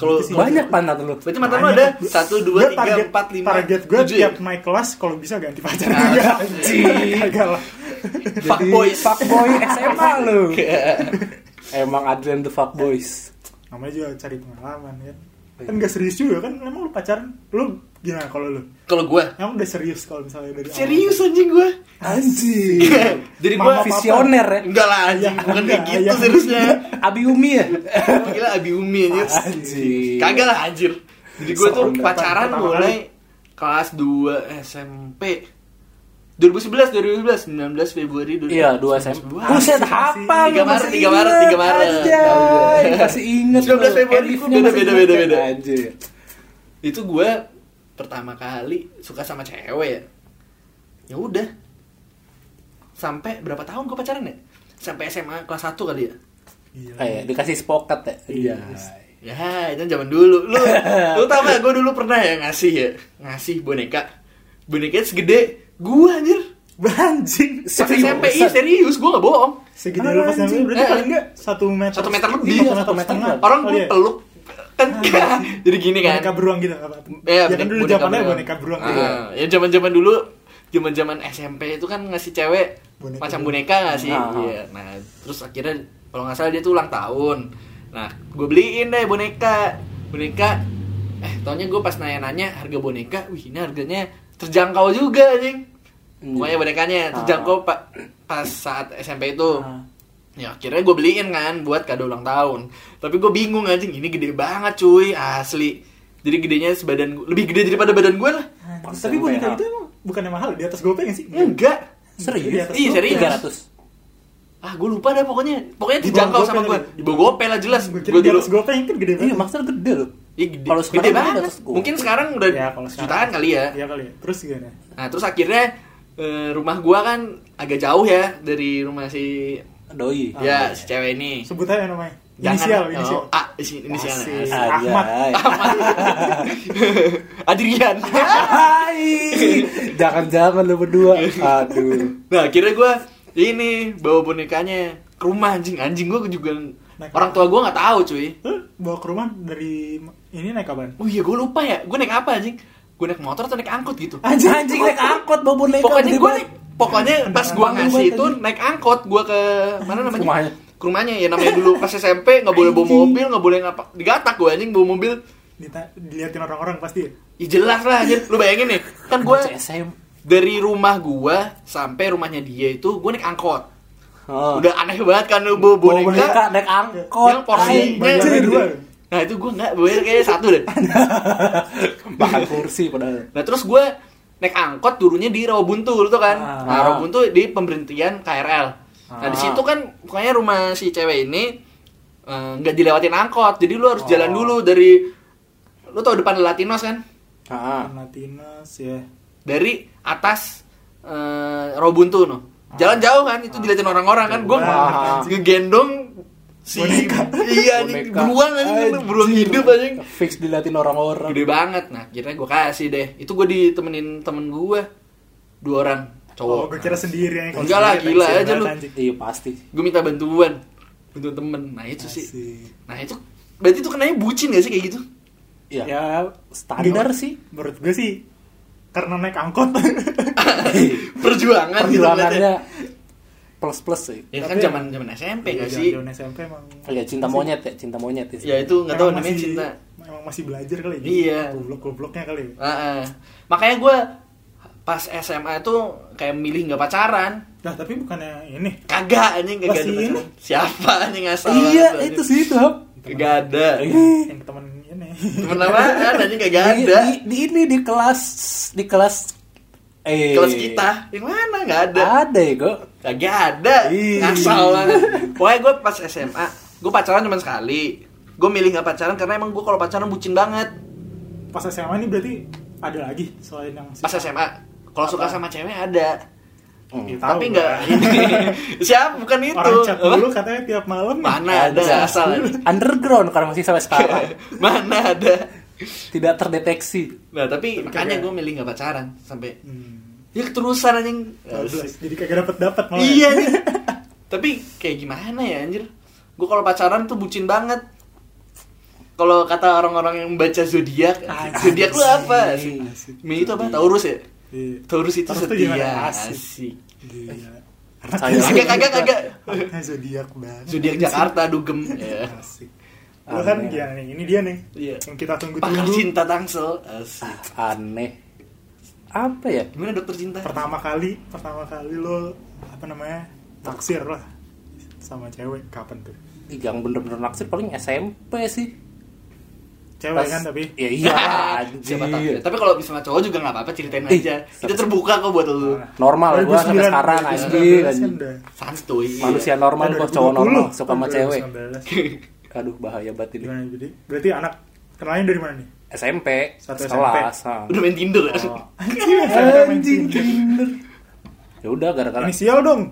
Speaker 1: kalau
Speaker 2: Itu sih.
Speaker 3: Banyak pantat lu.
Speaker 1: berarti mantan lu ada satu dua
Speaker 2: Gua
Speaker 1: tiga
Speaker 2: target-
Speaker 1: empat lima
Speaker 2: target gue
Speaker 1: tujuh ya?
Speaker 2: tiap naik kelas kalau bisa ganti pacar
Speaker 1: Ah,
Speaker 2: enggak
Speaker 3: anjing.
Speaker 2: Kagak lah
Speaker 1: Fuckboy.
Speaker 3: fuckboy SMA lu. Emang Adrian the fuckboys.
Speaker 2: namanya juga cari pengalaman kan kan gak serius juga kan emang lu pacaran lu gimana kalau lu
Speaker 1: kalau gue
Speaker 2: emang udah serius kalau misalnya dari awal?
Speaker 1: serius anjing gue
Speaker 3: Anjir.
Speaker 1: Iya. jadi gue
Speaker 2: Iya. Mama papa.
Speaker 3: Visioner ya.
Speaker 1: enggak lah anjing bukan kayak
Speaker 2: enggak,
Speaker 1: gitu
Speaker 2: ya.
Speaker 1: seriusnya
Speaker 3: Abi Umi ya.
Speaker 1: gila abi umi anjing
Speaker 3: Anjir.
Speaker 1: kagak lah anjir jadi gue tuh
Speaker 3: Serem dah.
Speaker 1: pacaran
Speaker 2: Pertama
Speaker 1: mulai kelas 2 SMP 2011 2011 19 Februari 2011
Speaker 3: Iya, dua SMP. Buset,
Speaker 2: masih-
Speaker 3: hafal.
Speaker 1: Tiga Maret,
Speaker 3: lu masih
Speaker 1: tiga Maret, tiga
Speaker 3: inget,
Speaker 1: Maret.
Speaker 3: Anjay, masih
Speaker 1: 19
Speaker 3: inget. lu.
Speaker 1: Februari,
Speaker 3: Editnya
Speaker 1: beda,
Speaker 3: masih
Speaker 1: beda,
Speaker 3: inget,
Speaker 1: beda, beda.
Speaker 3: Anjir.
Speaker 1: itu gue pertama kali suka sama cewek ya ya udah sampai berapa tahun gue pacaran ya sampai SMA kelas 1 kali ya
Speaker 2: Gila.
Speaker 3: Kayak Oh, iya, dikasih spokat ya.
Speaker 2: Iya.
Speaker 1: ya itu zaman dulu lu lu tau gak gue dulu pernah ya ngasih ya ngasih boneka bonekanya segede gue anjir
Speaker 2: Anjing
Speaker 1: Pas SMP iya, serius gue gak bohong
Speaker 2: segede lu pas
Speaker 3: Anjing,
Speaker 2: nyampe berarti
Speaker 1: eh,
Speaker 2: paling enggak satu meter
Speaker 1: satu meter lebih.
Speaker 2: Iya, satu
Speaker 3: Satu meter
Speaker 2: meter setengah
Speaker 3: lebih.
Speaker 1: orang
Speaker 2: Oh,
Speaker 1: gue
Speaker 2: iya.
Speaker 1: peluk kan jadi gini kan
Speaker 2: boneka beruang gitu apa
Speaker 1: Iya,
Speaker 2: ya kan dulu zamannya boneka beruang gitu ya.
Speaker 1: Ah, ya zaman-zaman dulu, zaman-zaman SMP itu kan ngasih cewek
Speaker 2: Boneka
Speaker 1: macam
Speaker 2: beruang.
Speaker 1: boneka nggak sih?
Speaker 3: Ah.
Speaker 1: Iya. Nah, terus akhirnya kalau nggak salah dia tuh ulang tahun. Nah, gue beliin deh boneka, boneka. Eh, taunya gue pas nanya-nanya harga boneka, wih ini harganya terjangkau juga anjing.
Speaker 3: Hmm.
Speaker 1: Pokoknya bonekanya
Speaker 3: Ah.
Speaker 1: terjangkau pa- pas saat SMP itu.
Speaker 2: Ah.
Speaker 1: Ya akhirnya gue beliin kan buat kado ulang tahun. Tapi gue bingung anjing ini gede banget cuy asli. Jadi gedenya sebadan gua- lebih gede daripada badan gue lah.
Speaker 3: Pas
Speaker 2: tapi
Speaker 3: SMP,
Speaker 2: boneka
Speaker 3: ah.
Speaker 2: itu emang bukannya mahal di atas gopeng nggak sih
Speaker 1: Enggak.
Speaker 2: Di
Speaker 3: Serius?
Speaker 2: atas
Speaker 1: Iya,
Speaker 2: gopeng.
Speaker 1: serius.
Speaker 3: 300.
Speaker 1: Ah gue lupa dah pokoknya. Pokoknya
Speaker 2: Di
Speaker 1: dijangkau
Speaker 2: bawah
Speaker 1: sama
Speaker 2: gopeng
Speaker 1: gue.
Speaker 2: lagi.
Speaker 1: Di bawah gopel lah jelas.
Speaker 2: gue
Speaker 1: Gue
Speaker 2: kira di
Speaker 1: dulu.
Speaker 2: atas gopeng kan gede
Speaker 3: Iya,
Speaker 2: banget
Speaker 3: maksudnya gede loh.
Speaker 1: Iya gede,
Speaker 3: Kalau sekarang
Speaker 1: gede
Speaker 3: kan di
Speaker 1: banget.
Speaker 3: atas gopeng.
Speaker 1: Mungkin sekarang udah
Speaker 2: Iya, kalau sekarang.
Speaker 1: jutaan kali ya.
Speaker 2: Iya kali ya. Terus gimana?
Speaker 1: Nah terus akhirnya eh, rumah gue kan agak jauh ya dari rumah si
Speaker 3: Doi.
Speaker 1: ya si cewek ini.
Speaker 2: Sebut aja namanya.
Speaker 1: Jangan-
Speaker 2: Ah, iya. Inisial,
Speaker 1: oh,
Speaker 2: inisial.
Speaker 1: A, isi- inisialnya.
Speaker 2: Asik.
Speaker 3: Iya,
Speaker 1: Asik.
Speaker 2: Ahmad.
Speaker 3: Anjay.
Speaker 1: Adrian.
Speaker 3: Hai. Jangan-jangan lu berdua. Aduh.
Speaker 1: Nah akhirnya gue ini bawa bonekanya ke rumah anjing anjing gue juga
Speaker 2: Naik
Speaker 1: orang tua gue nggak tahu cuy.
Speaker 2: Lu bawa ke rumah dari ini naik kapan?
Speaker 1: Oh iya gue lupa ya gue naik apa anjing? Gue naik motor atau naik angkot gitu?
Speaker 3: Anjing, anjing naik angkot bawa boneka.
Speaker 1: Pokoknya
Speaker 3: gede
Speaker 1: gue
Speaker 3: banget.
Speaker 1: naik pokoknya pas gue
Speaker 3: Anjing
Speaker 1: ngasih
Speaker 3: banget,
Speaker 1: itu
Speaker 3: anjing.
Speaker 1: naik angkot gue ke mana namanya?
Speaker 3: Rumahnya.
Speaker 1: Ke rumahnya ya namanya dulu pas SMP nggak boleh bawa
Speaker 3: Anjing.
Speaker 1: mobil nggak boleh ngapa digatak gue anjing bawa mobil.
Speaker 2: Dita- diliatin orang-orang pasti. ya?
Speaker 1: Ya jelas lah anjir, lu bayangin nih Kan gue
Speaker 3: Bocah SMP
Speaker 1: dari rumah gua sampai rumahnya dia itu gua naik angkot
Speaker 3: Oh.
Speaker 1: udah aneh banget kan lu bawa
Speaker 3: Bawa
Speaker 1: boneka,
Speaker 3: boneka naik angkot.
Speaker 1: yang porsinya
Speaker 2: Anjing,
Speaker 1: gede.
Speaker 2: dua.
Speaker 1: nah itu gua nggak gua kayaknya satu deh
Speaker 3: Makan kursi padahal.
Speaker 1: nah terus gua naik angkot turunnya di Rawabuntu tuh kan
Speaker 2: Ah.
Speaker 1: nah Rawabuntu di pemberhentian KRL nah di
Speaker 3: Ah.
Speaker 1: situ kan pokoknya rumah si cewek ini eh, nggak dilewatin angkot jadi lu harus jalan
Speaker 3: Oh.
Speaker 1: dulu dari lu tau depan Latinos kan
Speaker 3: Ah.
Speaker 2: Latinos ya.
Speaker 1: dari atas eh, Robuntu no. Jalan jauh kan itu diliatin orang-orang kan gua
Speaker 2: Wah.
Speaker 1: nge- ngegendong si
Speaker 2: Boneka.
Speaker 1: iya nih
Speaker 3: Boneka.
Speaker 1: beruang anjing
Speaker 3: Anjing.
Speaker 1: beruang hidup anjing.
Speaker 3: Fix dilatin orang-orang.
Speaker 1: Gede banget nah akhirnya gua kasih deh. Itu gua ditemenin temen gua dua orang cowok.
Speaker 2: Oh, gue kira sendiri yang
Speaker 1: Enggak lah, gila
Speaker 2: Pensiun
Speaker 1: aja lu.
Speaker 2: banget, anjing.
Speaker 3: Iya pasti.
Speaker 1: Gua minta bantuan bantuan temen. Nah itu sih.
Speaker 2: Asik.
Speaker 1: Nah itu berarti itu kenanya bucin gak sih kayak gitu?
Speaker 3: Iya.
Speaker 2: Ya,
Speaker 3: standar
Speaker 2: gimana?
Speaker 3: sih.
Speaker 2: Menurut gue sih karena naik angkot.
Speaker 1: Perjuangan, gitu
Speaker 3: Perjuangannya
Speaker 1: ngeliatnya.
Speaker 3: plus-plus sih.
Speaker 1: Ya kan
Speaker 2: Tapi- iya,
Speaker 1: zaman zaman SMP gak sih?
Speaker 2: Zaman SMP emang.
Speaker 3: Ya cinta
Speaker 2: masih-
Speaker 3: monyet ya, cinta monyet sih.
Speaker 1: Ya itu nggak tahu
Speaker 2: emang
Speaker 1: namanya
Speaker 2: masih-
Speaker 1: cinta.
Speaker 2: Emang masih belajar kali.
Speaker 1: Iya.
Speaker 2: Goblok-gobloknya kali.
Speaker 1: Heeh. Makanya gue pas SMA itu kayak milih nggak pacaran.
Speaker 2: Nah, tapi bukannya ini.
Speaker 1: Kagak anjing kagak
Speaker 2: Lah,
Speaker 1: ada
Speaker 2: si
Speaker 1: pacaran. Siapa anjing asal?
Speaker 3: Iya, itu sih itu, Hap.
Speaker 1: Kagak ada.
Speaker 2: Iya.
Speaker 1: Iya.
Speaker 2: yang temen ini.
Speaker 1: Temen apaan anjing
Speaker 2: Iya,
Speaker 1: kagak
Speaker 3: Di-
Speaker 1: ada.
Speaker 3: Di, di ini di kelas di kelas eh
Speaker 1: Kelas kita yang mana nggak ada?
Speaker 3: Ada ya, Go.
Speaker 1: Kagak ada.
Speaker 3: Ih.
Speaker 2: Iya.
Speaker 1: Asal banget. Pokoknya gue pas SMA, gue pacaran cuma sekali. Gue milih nggak pacaran karena emang gue kalau pacaran bucin banget.
Speaker 2: Pas SMA ini berarti ada lagi selain yang
Speaker 1: Pas SMA, kalau suka sama cewek ada.
Speaker 2: Ya,
Speaker 1: Ah,
Speaker 2: tahu
Speaker 1: hmm. Tapi
Speaker 2: gua.
Speaker 1: nggak ini. Siapa bukan itu?
Speaker 2: Orang chat
Speaker 1: Apa?
Speaker 2: dulu katanya tiap malam. ya?
Speaker 1: Mana ada asal anjing.
Speaker 3: Underground karena masih sampai sekarang.
Speaker 1: mana ada
Speaker 3: Tidak terdeteksi.
Speaker 1: nah tapi makanya
Speaker 2: kagak.
Speaker 1: gue milih nggak pacaran sampai
Speaker 2: Hmm.
Speaker 1: ya keterusan anjing
Speaker 2: Bablas. Jadi kagak dapet dapat malah. ya?
Speaker 1: iya anjing. tapi kayak gimana ya anjir gue kalau pacaran tuh bucin banget kalau kata orang-orang yang baca zodiak
Speaker 2: Asik.
Speaker 1: zodiak lu apa
Speaker 3: Asik.
Speaker 1: sih
Speaker 2: Asik.
Speaker 1: itu apa taurus ya
Speaker 2: Iya.
Speaker 1: taurus itu
Speaker 2: Taurus tuh
Speaker 1: setia
Speaker 2: gimana? Asik.
Speaker 1: asik Iya.
Speaker 2: Gila.
Speaker 3: Sayang.
Speaker 1: kagak kagak kagak
Speaker 2: Anaknya zodiak banget.
Speaker 1: zodiak Jakarta dugem ya
Speaker 2: Asik. Lu kan
Speaker 3: Aneh.
Speaker 2: gimana nih? Ini dia nih.
Speaker 1: Iya.
Speaker 2: Yang kita
Speaker 1: pakar
Speaker 2: tunggu-tunggu.
Speaker 1: cinta tangsel asik
Speaker 3: Aneh. Apa ya?
Speaker 1: gimana dokter cinta
Speaker 2: Pertama kali, pertama kali lo apa namanya? Taksir lah sama cewek kapan tuh?
Speaker 3: Ih, Yang bener-bener naksir paling SMP sih.
Speaker 2: Cewek
Speaker 3: Pas-
Speaker 2: kan tapi
Speaker 3: Ya iya,
Speaker 1: Siapa tahu.
Speaker 3: anjir.
Speaker 1: Tapi kalau misalnya cowok juga nggak apa-apa ceritain
Speaker 3: Ih,
Speaker 1: aja. Kita terbuka kok buat lu.
Speaker 3: Normal gua sampai
Speaker 2: 2009,
Speaker 3: sekarang
Speaker 2: 2019
Speaker 3: anjir.
Speaker 2: kan
Speaker 3: anjir.
Speaker 2: udah.
Speaker 1: Santuy. iya.
Speaker 3: Manusia normal
Speaker 2: Eh,
Speaker 3: kok cowok
Speaker 2: 2020,
Speaker 3: normal suka sama cewek.
Speaker 2: 2019.
Speaker 3: Aduh bahaya banget ini.
Speaker 2: Gimana jadi? Berarti anak kenalnya dari mana nih?
Speaker 3: SMP,
Speaker 2: Satu
Speaker 3: sekelas. ah.
Speaker 1: Udah main Tinder ya?
Speaker 2: Oh, anjing, SMP main Tinder.
Speaker 3: Ya udah gara-gara
Speaker 2: Inisial dong.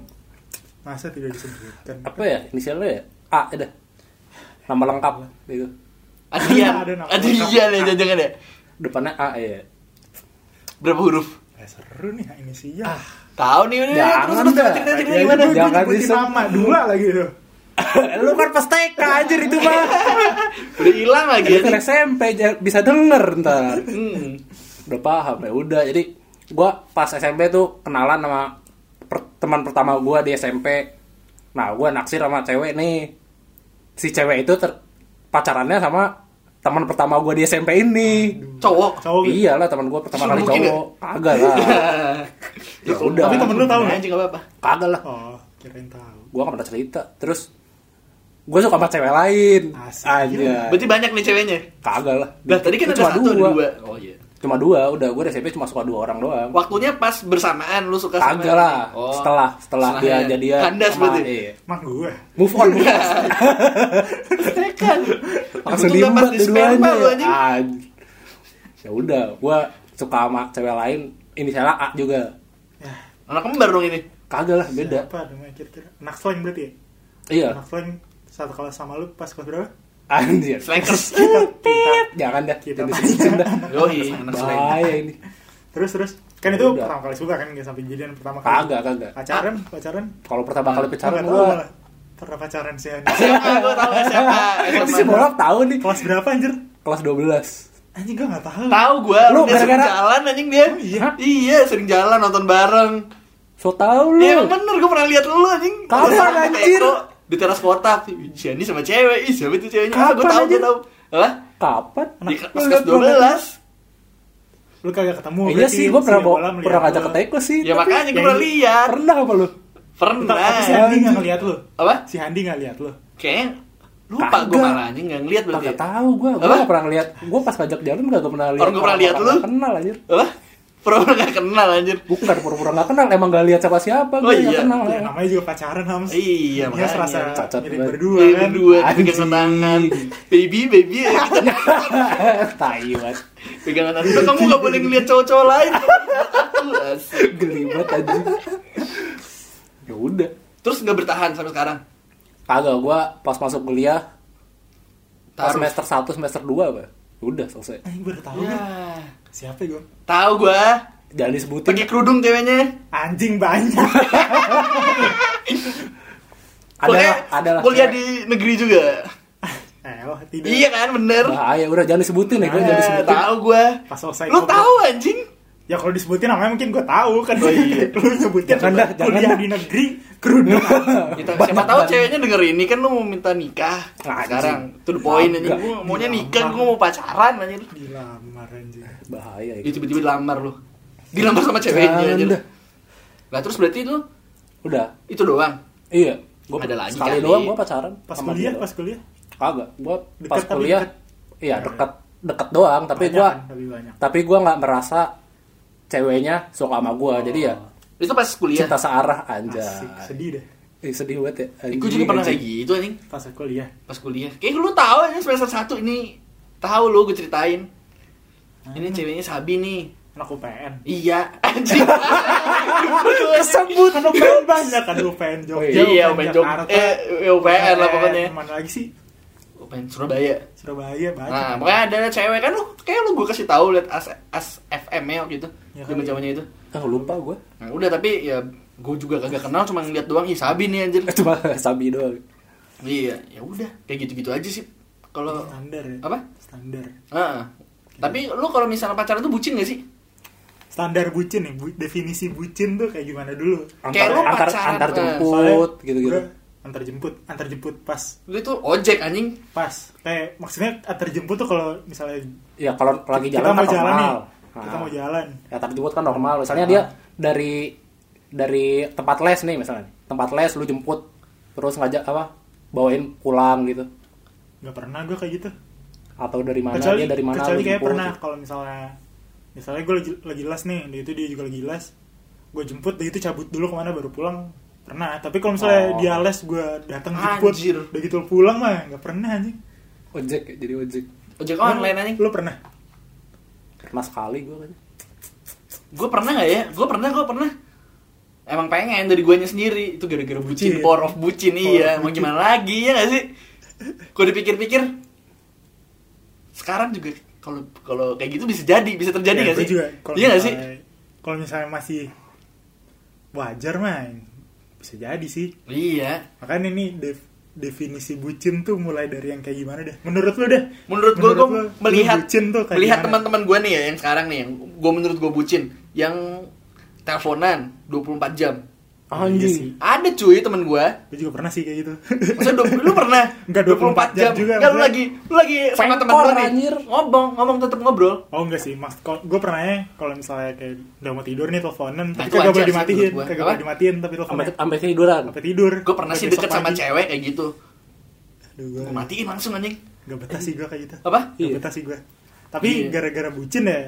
Speaker 2: Masa tidak disebutkan?
Speaker 3: apa ya inisialnya ya? A udah. Nama lengkap gitu.
Speaker 1: Adrian.
Speaker 2: Ada nama
Speaker 1: Adrian ya jangan ya.
Speaker 3: Depannya A ya.
Speaker 1: Berapa huruf?
Speaker 2: Eh, seru nih inisial.
Speaker 1: Tahu nih udah
Speaker 3: Jangan
Speaker 1: terus terus
Speaker 3: dah.
Speaker 1: cerita cerita gimana?
Speaker 2: Ya, itu gua
Speaker 3: Ah, iya, Jangan
Speaker 2: nyebutin
Speaker 3: disebut.
Speaker 2: nama dua lagi tuh.
Speaker 3: Lu kan pas TK anjir itu mah.
Speaker 1: Udah hilang lagi
Speaker 3: Lu
Speaker 1: ya.
Speaker 3: kan SMP j- bisa denger ntar.
Speaker 1: Hmm.
Speaker 3: Udah paham ya udah. Jadi gua pas SMP tuh kenalan sama per- teman pertama gua di SMP. Nah, gua naksir sama cewek nih. Si cewek itu ter- pacarannya sama teman pertama gua di SMP ini.
Speaker 1: Cowok.
Speaker 2: Cowok. gitu.
Speaker 3: Iyalah teman gua pertama
Speaker 1: Terus
Speaker 3: kali
Speaker 1: lu mungkin
Speaker 3: cowok. Kagak lah. Ya udah.
Speaker 2: Tapi temen lu tahu
Speaker 1: Nah,
Speaker 2: nggak?
Speaker 1: aja nggak apa-apa.
Speaker 3: Kagak lah.
Speaker 2: Oh, kirain tahu.
Speaker 3: Gua gak pernah cerita. Terus gua suka sama cewek lain.
Speaker 2: Asik.
Speaker 3: Aja.
Speaker 1: Berarti banyak nih ceweknya.
Speaker 3: Kagak lah.
Speaker 1: Nah, tadi kan ada
Speaker 3: Itu
Speaker 1: satu ada dua. Oh iya.
Speaker 3: Cuma dua, udah gua di SMP cuma suka dua orang doang.
Speaker 1: Waktunya pas bersamaan lu suka sama
Speaker 3: Kagak lah.
Speaker 1: Oh.
Speaker 3: Setelah setelah dia
Speaker 1: Setelahnya.
Speaker 3: jadian.
Speaker 1: Kandas
Speaker 3: sama-
Speaker 1: berarti.
Speaker 3: iya.
Speaker 2: Mak gua.
Speaker 3: Move on, move on.
Speaker 1: Tekan.
Speaker 3: Langsung
Speaker 1: Itu nggak
Speaker 3: diembat
Speaker 1: pas di sperma
Speaker 3: dua-duanya. Ah.
Speaker 1: lu, anjing.
Speaker 3: Anj- Ya udah, gua suka sama cewek lain. Ini salah A juga.
Speaker 2: Ya,
Speaker 1: Anak kembar dong ini.
Speaker 3: Kagak lah, Kan beda.
Speaker 2: Apa namanya kira-kira? Anak slang berarti ya?
Speaker 3: Iya.
Speaker 2: Anak slang satu kelas sama lu pas kelas berapa?
Speaker 3: Anjir.
Speaker 1: Slankers.
Speaker 2: Kita.
Speaker 3: Jangan dah.
Speaker 2: Kita
Speaker 3: Kita disebutin dah.
Speaker 1: Yoi, anak slang.
Speaker 3: Bahaya ini.
Speaker 2: Terus terus. Kan
Speaker 3: Ya
Speaker 2: itu
Speaker 3: udah.
Speaker 2: pertama kali suka kan nggak sampai jadian pertama kali.
Speaker 3: Kagak, kagak.
Speaker 2: Pacaran, pacaran.
Speaker 3: Kalau pertama kali pacaran
Speaker 2: Nggak tahu
Speaker 3: gua
Speaker 2: malah. Pernah pacaran sih anjing.
Speaker 1: SMA gue tahu SMA.
Speaker 3: Tapi si bolak tahu nih
Speaker 2: Kelas berapa anjir?
Speaker 3: kelas 12.
Speaker 2: Anjing gua nggak tahu.
Speaker 1: Tahu gue,
Speaker 3: Lu
Speaker 1: dia sering
Speaker 3: gara-gara-
Speaker 1: jalan anjing dia.
Speaker 2: iya?
Speaker 1: Iya, sering jalan nonton bareng.
Speaker 3: So tahu
Speaker 1: Iya, emang
Speaker 3: lu.
Speaker 1: bener gue pernah lihat lu anjing.
Speaker 3: Kapan,
Speaker 1: Di teras
Speaker 3: anjir?
Speaker 1: Eko, Di teras kota, Jani sama cewek. Ih, siapa itu ceweknya? Ah, gue
Speaker 3: Kapan,
Speaker 1: tahu,
Speaker 3: Iya,
Speaker 1: gue
Speaker 3: anjir?
Speaker 1: tahu. Hah?
Speaker 3: Kapan?
Speaker 1: Di
Speaker 3: Lu liat
Speaker 1: kelas
Speaker 3: gua nggak-
Speaker 1: 12.
Speaker 2: Lu kagak ketemu.
Speaker 3: iya sih, gue pernah bawa, pernah ngajak
Speaker 2: ngajak
Speaker 3: ke teko sih.
Speaker 1: ya
Speaker 3: tapi
Speaker 1: makanya gue
Speaker 2: yang-
Speaker 1: pernah lihat
Speaker 3: Pernah apa lu?
Speaker 1: pernah
Speaker 2: Tapi si Handi nggak ngeliat lu.
Speaker 1: apa
Speaker 2: Si Handi nggak lihat lu.
Speaker 1: kayaknya lupa gue
Speaker 3: Kagak.
Speaker 1: malah anjing nggak ngeliat berarti
Speaker 3: Kagak tahu gue,
Speaker 1: ya.
Speaker 3: gue
Speaker 1: Apa?
Speaker 3: gak pernah lihat. Gue pas ngajak jalan gak pernah lihat.
Speaker 1: Orang gak pernah lihat lu?
Speaker 3: Gak kenal anjir.
Speaker 1: apa pernah nggak kenal anjir
Speaker 3: Bukan pura-pura gak kenal, emang gak lihat siapa-siapa.
Speaker 1: Oh
Speaker 3: Gue gak
Speaker 1: iya.
Speaker 3: kenal.
Speaker 2: Ya, namanya juga pacaran Hams.
Speaker 1: Iya,
Speaker 2: Dia
Speaker 1: makanya.
Speaker 2: serasa
Speaker 3: Cacat
Speaker 2: milik
Speaker 3: banget.
Speaker 2: berdua
Speaker 1: Dua,
Speaker 2: kan.
Speaker 1: dua, pegangan
Speaker 3: Anjing.
Speaker 1: tangan Baby, baby ya kita
Speaker 3: Tai banget.
Speaker 1: pegangan tangan Udah, Kamu gak boleh ngeliat cowok-cowok lain Asik.
Speaker 3: Geli banget anjing. Ya udah.
Speaker 1: Terus gak bertahan sampai sekarang
Speaker 3: Kagak, gue pas masuk kuliah, pas
Speaker 1: Taruh
Speaker 3: semester 1, semester 2 apa? Udah selesai.
Speaker 2: Eh, baru tahu
Speaker 1: Ya.
Speaker 2: kan. Siapa gue?
Speaker 1: Tahu gua
Speaker 3: Jangan disebutin.
Speaker 1: Pakai kerudung ceweknya
Speaker 2: Anjing banyak.
Speaker 1: Pokoknya
Speaker 3: Adalah, adalah.
Speaker 1: Kuliah di negeri juga
Speaker 2: eh, oh,
Speaker 3: Gitu.
Speaker 2: tidak.
Speaker 1: Iya kan bener
Speaker 3: Bahaya, Nah, udah jangan disebutin ya, gue jangan
Speaker 1: Eh,
Speaker 3: disebutin.
Speaker 1: Tahu gua
Speaker 2: Pas selesai.
Speaker 1: Lu
Speaker 2: gua-
Speaker 1: tahu anjing
Speaker 2: Ya kalau disebutin namanya mungkin gue tahu kan.
Speaker 1: Oh, iya.
Speaker 2: Lu nyebutin
Speaker 3: Jangan dah, jangan
Speaker 2: kuliah
Speaker 3: dah.
Speaker 2: di negeri kerudung.
Speaker 1: kita siapa tahu ceweknya denger ini kan lu mau minta nikah
Speaker 3: Nah, Anjing.
Speaker 1: sekarang to the point anjing
Speaker 3: Kagak.
Speaker 1: gua maunya nikah gua mau pacaran anjing
Speaker 2: Dilamar anjing.
Speaker 3: Bahaya
Speaker 1: Ya
Speaker 3: itu.
Speaker 1: tiba-tiba dilamar lu. Dilamar sama ceweknya aja. lu.
Speaker 3: Jangan dah.
Speaker 1: Lah terus berarti itu
Speaker 3: Udah.
Speaker 1: itu doang.
Speaker 3: Iya. Gua
Speaker 1: Ada lagi kan?
Speaker 3: sekali
Speaker 1: kali.
Speaker 3: doang gue pacaran.
Speaker 2: Pas
Speaker 3: sama
Speaker 2: kuliah,
Speaker 3: dia doang.
Speaker 2: pas kuliah.
Speaker 3: kagak. Gue
Speaker 2: Deket
Speaker 3: pas
Speaker 2: tapi
Speaker 3: kuliah,
Speaker 2: deket.
Speaker 3: iya dekat dekat doang. Tapi
Speaker 2: Banyak
Speaker 3: gue
Speaker 2: kan, Lebih banyak.
Speaker 3: tapi gue nggak merasa ceweknya suka sama gue.
Speaker 1: Oh.
Speaker 3: Jadi ya
Speaker 1: Itu pas kuliah.
Speaker 3: cinta searah aja.
Speaker 2: Asik, sedih deh.
Speaker 3: Ih, sedih banget ya.
Speaker 1: Eh,
Speaker 3: anjing,
Speaker 1: Gua juga pernah
Speaker 3: anjing.
Speaker 1: kayak gitu anjing
Speaker 2: Pas kuliah.
Speaker 1: pas kuliah. Kayak lu tahu anjing semester 1 ini tahu lu gue ceritain. Ini ceweknya Sabi nih.
Speaker 2: Anak UPN.
Speaker 1: Iya, anjing.
Speaker 2: Kesebut. Kan UPN banyak kan. UPN
Speaker 3: Oh,
Speaker 2: Jogja,
Speaker 1: iya, UPN Jog.
Speaker 2: Jakarta.
Speaker 1: Eh, UPN lah pokoknya.
Speaker 2: Eh, Mana lagi sih?
Speaker 1: UPN Surabaya.
Speaker 2: Surabaya banyak.
Speaker 1: Nah, pokoknya ada cewek kan lu kayak lu gue kasih tahu liat as, as FM ya waktu itu.
Speaker 2: Ya, kan.
Speaker 1: Zaman-zamannya itu.
Speaker 3: Ah, lupa gue.
Speaker 1: Nah, udah tapi ya gue juga kagak kenal cuma ngeliat doang ih Sabi nih anjir.
Speaker 3: Cuma sabi doang.
Speaker 1: Iya, ya udah kayak gitu-gitu aja sih. Kalau
Speaker 2: standar ya.
Speaker 1: apa?
Speaker 2: Standar.
Speaker 1: Heeh. Tapi lu kalau misalnya pacaran tuh bucin gak sih?
Speaker 2: Standar bucin nih. Bu- definisi bucin tuh kayak gimana dulu?
Speaker 1: Kayak
Speaker 3: Antar
Speaker 1: lu
Speaker 3: antar
Speaker 1: pacaran,
Speaker 3: antar
Speaker 1: eh,
Speaker 3: jemput gitu-gitu.
Speaker 2: Gua Antar jemput, antar jemput pas
Speaker 1: Lu itu ojek anjing.
Speaker 2: pas. Kayak maksudnya antar jemput tuh kalau misalnya
Speaker 3: Ya kalau lagi
Speaker 2: kita
Speaker 3: jalan kan
Speaker 2: mau jalan nih.
Speaker 3: normal.
Speaker 2: Kita
Speaker 3: Ah.
Speaker 2: mau jalan.
Speaker 3: ya tapi jemput kan normal misalnya dia dari dari tempat les nih misalnya tempat les lu jemput terus ngajak apa bawain pulang gitu
Speaker 2: Gak pernah gue kayak gitu.
Speaker 3: atau dari mana
Speaker 2: kecuali
Speaker 3: dia dari mana
Speaker 2: kecuali
Speaker 3: lu
Speaker 2: kayak
Speaker 3: jemput
Speaker 2: pernah
Speaker 3: gitu.
Speaker 2: kalau misalnya misalnya gue lagi, lagi les nih dia itu dia juga lagi les gue jemput dia itu cabut dulu kemana baru pulang pernah tapi kalau misalnya
Speaker 3: Oh.
Speaker 2: dia les gue datang jemput
Speaker 1: Anjir.
Speaker 2: udah gitu pulang mah nggak pernah anjing
Speaker 3: ojek ya, jadi ojek
Speaker 1: Ojek kan, online anjing.
Speaker 2: lo pernah
Speaker 3: pernah sekali gue kan
Speaker 1: Gue pernah gak ya? Gue pernah, gue pernah. Emang pengen dari guanya sendiri. Itu gara-gara bucin,
Speaker 2: Bucin.
Speaker 1: power of bucin.
Speaker 2: Power
Speaker 1: iya,
Speaker 2: of
Speaker 1: mau
Speaker 2: bucin.
Speaker 1: gimana lagi ya gak sih? Gue dipikir-pikir sekarang juga kalau kalau kayak gitu bisa jadi, bisa terjadi
Speaker 2: Ya,
Speaker 1: nggak
Speaker 2: gua
Speaker 1: sih?
Speaker 2: juga kalau
Speaker 1: iya gak sih?
Speaker 2: misalnya- kalau misalnya masih wajar mah bisa jadi sih
Speaker 1: Iya.
Speaker 2: makanya ini def- definisi bucin tuh mulai dari yang kayak gimana deh menurut lo deh
Speaker 1: menurut gue gue
Speaker 2: lu, lu
Speaker 1: melihat
Speaker 2: bucin tuh kayak
Speaker 1: melihat
Speaker 2: gimana?
Speaker 1: teman-teman gue nih ya yang sekarang nih yang gue menurut gue bucin yang teleponan 24 jam
Speaker 2: Iya
Speaker 3: anjing
Speaker 2: sih.
Speaker 1: ada cuy temen gue
Speaker 2: gue juga pernah sih kayak gitu
Speaker 1: Maksudnya dua- lu pernah
Speaker 2: Enggak, 24 jam juga,
Speaker 1: Enggak, lu
Speaker 2: maksudnya.
Speaker 1: lagi lu lagi sama temen
Speaker 3: Pengkor,
Speaker 1: lu nih
Speaker 3: anjir.
Speaker 1: ngobong ngomong tetep ngobrol
Speaker 2: Oh enggak sih, mas. Gue pernah kalau misalnya kayak udah mau tidur nih teleponan, tapi
Speaker 1: Nah, itu
Speaker 2: kagak
Speaker 1: wajar
Speaker 2: boleh
Speaker 1: sih
Speaker 2: dimatiin,
Speaker 1: menurut gua.
Speaker 2: kagak
Speaker 1: Apa?
Speaker 2: boleh dimatiin tapi
Speaker 3: sampai
Speaker 2: teleponnya
Speaker 3: sampai tiduran
Speaker 2: sampai tidur.
Speaker 1: gue pernah sih deket sama cewek kayak gitu
Speaker 2: Aduh, gue
Speaker 1: gue matiin langsung anjing
Speaker 2: Gak betah sih gue kayak gitu.
Speaker 1: apa
Speaker 2: Gak
Speaker 3: Iya.
Speaker 2: betah sih gue. Tapi
Speaker 1: Iya.
Speaker 2: gara-gara bucin ya.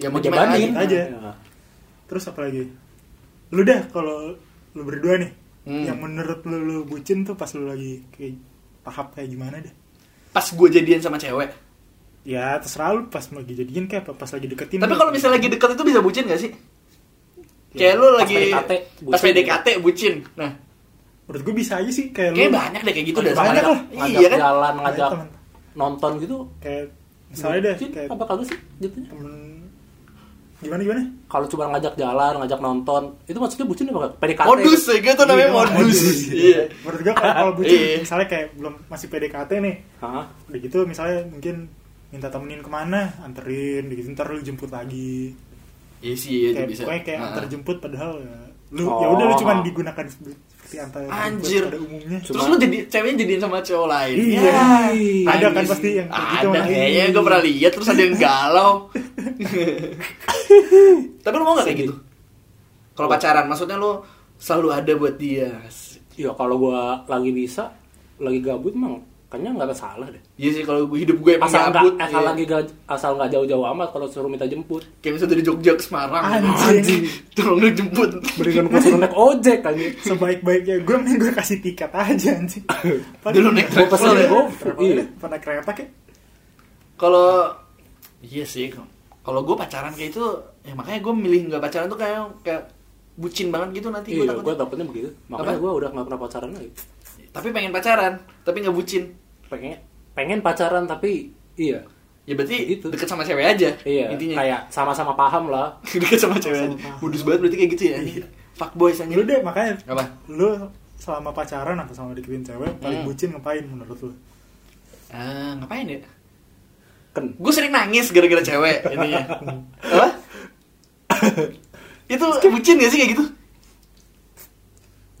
Speaker 1: ya mau gimana
Speaker 3: ngejabanin
Speaker 1: lagi?
Speaker 2: aja.
Speaker 3: Ya.
Speaker 2: Terus apa lagi? Lu dah kalau lu berdua nih,
Speaker 1: Hmm.
Speaker 2: yang menurut lu lu bucin tuh pas lu lagi kayak tahap kayak gimana deh?
Speaker 1: pas gue jadian sama cewek
Speaker 2: Ya terserah lu pas lagi jadian kayak apa, pas lagi deketin.
Speaker 1: tapi
Speaker 2: lu.
Speaker 1: kalau misalnya lagi deket itu bisa bucin gak sih kayak lu
Speaker 3: Pas
Speaker 1: lagi
Speaker 3: PDKT,
Speaker 1: pas
Speaker 3: bucin.
Speaker 1: PDKT bucin nah
Speaker 2: menurut gue bisa aja sih kayak
Speaker 1: Kayaknya
Speaker 2: lu
Speaker 1: banyak deh kayak gitu
Speaker 2: Ada
Speaker 1: dah
Speaker 2: banyak
Speaker 1: sekarang.
Speaker 2: lah.
Speaker 3: ngajak
Speaker 1: Iya kan?
Speaker 3: jalan
Speaker 2: Ada
Speaker 3: ngajak
Speaker 2: temen.
Speaker 3: nonton gitu
Speaker 2: kayak misalnya deh
Speaker 3: Bucin
Speaker 2: kayak
Speaker 3: apa kagak sih jatuhnya
Speaker 2: temen gimana gimana
Speaker 3: kalau cuma ngajak jalan ngajak nonton itu maksudnya bucin apa kagak PDKT
Speaker 1: Modus ya gitu namanya
Speaker 2: Iya,
Speaker 1: modus.
Speaker 2: Iya.
Speaker 1: Iya.
Speaker 2: Menurut gue kalau kalau bucin,
Speaker 1: Iya.
Speaker 2: misalnya kayak belum masih PDKT nih,
Speaker 3: Hah?
Speaker 2: udah gitu misalnya mungkin minta temenin kemana, anterin, udah gitu ntar lu jemput lagi.
Speaker 1: Iya sih iya itu
Speaker 2: kayak
Speaker 1: bisa.
Speaker 2: pokoknya kayak
Speaker 1: Ah.
Speaker 2: antar jemput padahal ya, lu
Speaker 3: Oh.
Speaker 2: ya udah lu cuman digunakan seperti antar jemput
Speaker 1: Anjir.
Speaker 2: pada umumnya.
Speaker 3: Cuma-
Speaker 1: Terus lu jadi ceweknya jadiin sama cowok lain.
Speaker 2: Iya.
Speaker 1: Ya.
Speaker 2: Ada kan
Speaker 1: Anjing.
Speaker 2: pasti yang kayak gitu,
Speaker 1: Ada
Speaker 2: makanya.
Speaker 1: kayaknya gue pernah lihat terus ada yang galau. Tapi lu mau gak kayak gitu? Kalau pacaran, maksudnya lu selalu ada buat dia.
Speaker 3: Ya kalau gua lagi bisa, lagi gabut emang kayaknya nggak ada salah deh.
Speaker 1: Iya sih kalau gua- hidup gue emang
Speaker 3: Asal nggak
Speaker 1: gabut.
Speaker 3: asal
Speaker 1: iya.
Speaker 3: lagi ga- asal nggak jauh-jauh amat kalau suruh minta jemput.
Speaker 1: Kayak misalnya dari Jogja ke Semarang.
Speaker 2: Anjing.
Speaker 1: Tolong dong jemput.
Speaker 3: Mendingan gua suruh naik ojek aja.
Speaker 2: sebaik-baiknya gue mending gue kasih tiket aja anjing
Speaker 1: Dulu naik
Speaker 3: Gua
Speaker 1: travel
Speaker 3: pesen
Speaker 1: ya.
Speaker 3: gua. Iya.
Speaker 2: Iya. pernah kereta kek
Speaker 1: Kalau iya sih. Kalau gue pacaran kayak itu, ya makanya gue milih nggak pacaran tuh kayak kayak bucin banget gitu nanti gue
Speaker 3: Iya,
Speaker 1: takut.
Speaker 3: gua takutnya begitu. Makanya
Speaker 1: Apa?
Speaker 3: gua udah nggak pernah pacaran lagi.
Speaker 1: Tapi pengen pacaran, tapi nggak bucin.
Speaker 3: Pengen pengen pacaran tapi iya.
Speaker 1: Ya berarti
Speaker 3: Gitu.
Speaker 1: deket sama cewek aja.
Speaker 3: Iya,
Speaker 1: Intinya.
Speaker 3: kayak sama-sama paham lah.
Speaker 1: deket sama cewek.
Speaker 2: Sama paham.
Speaker 1: Budus banget berarti kayak gitu ya.
Speaker 2: Iya.
Speaker 1: Fuckboy anjing.
Speaker 2: lu deh makanya
Speaker 1: Apa?
Speaker 2: lu selama pacaran atau sama deketin cewek paling
Speaker 1: Hmm.
Speaker 2: bucin ngapain menurut lu
Speaker 1: Ah, ngapain ya?
Speaker 3: Ken.
Speaker 1: Gue sering nangis gara-gara cewek intinya. Apa? itu bucin gak sih kayak gitu?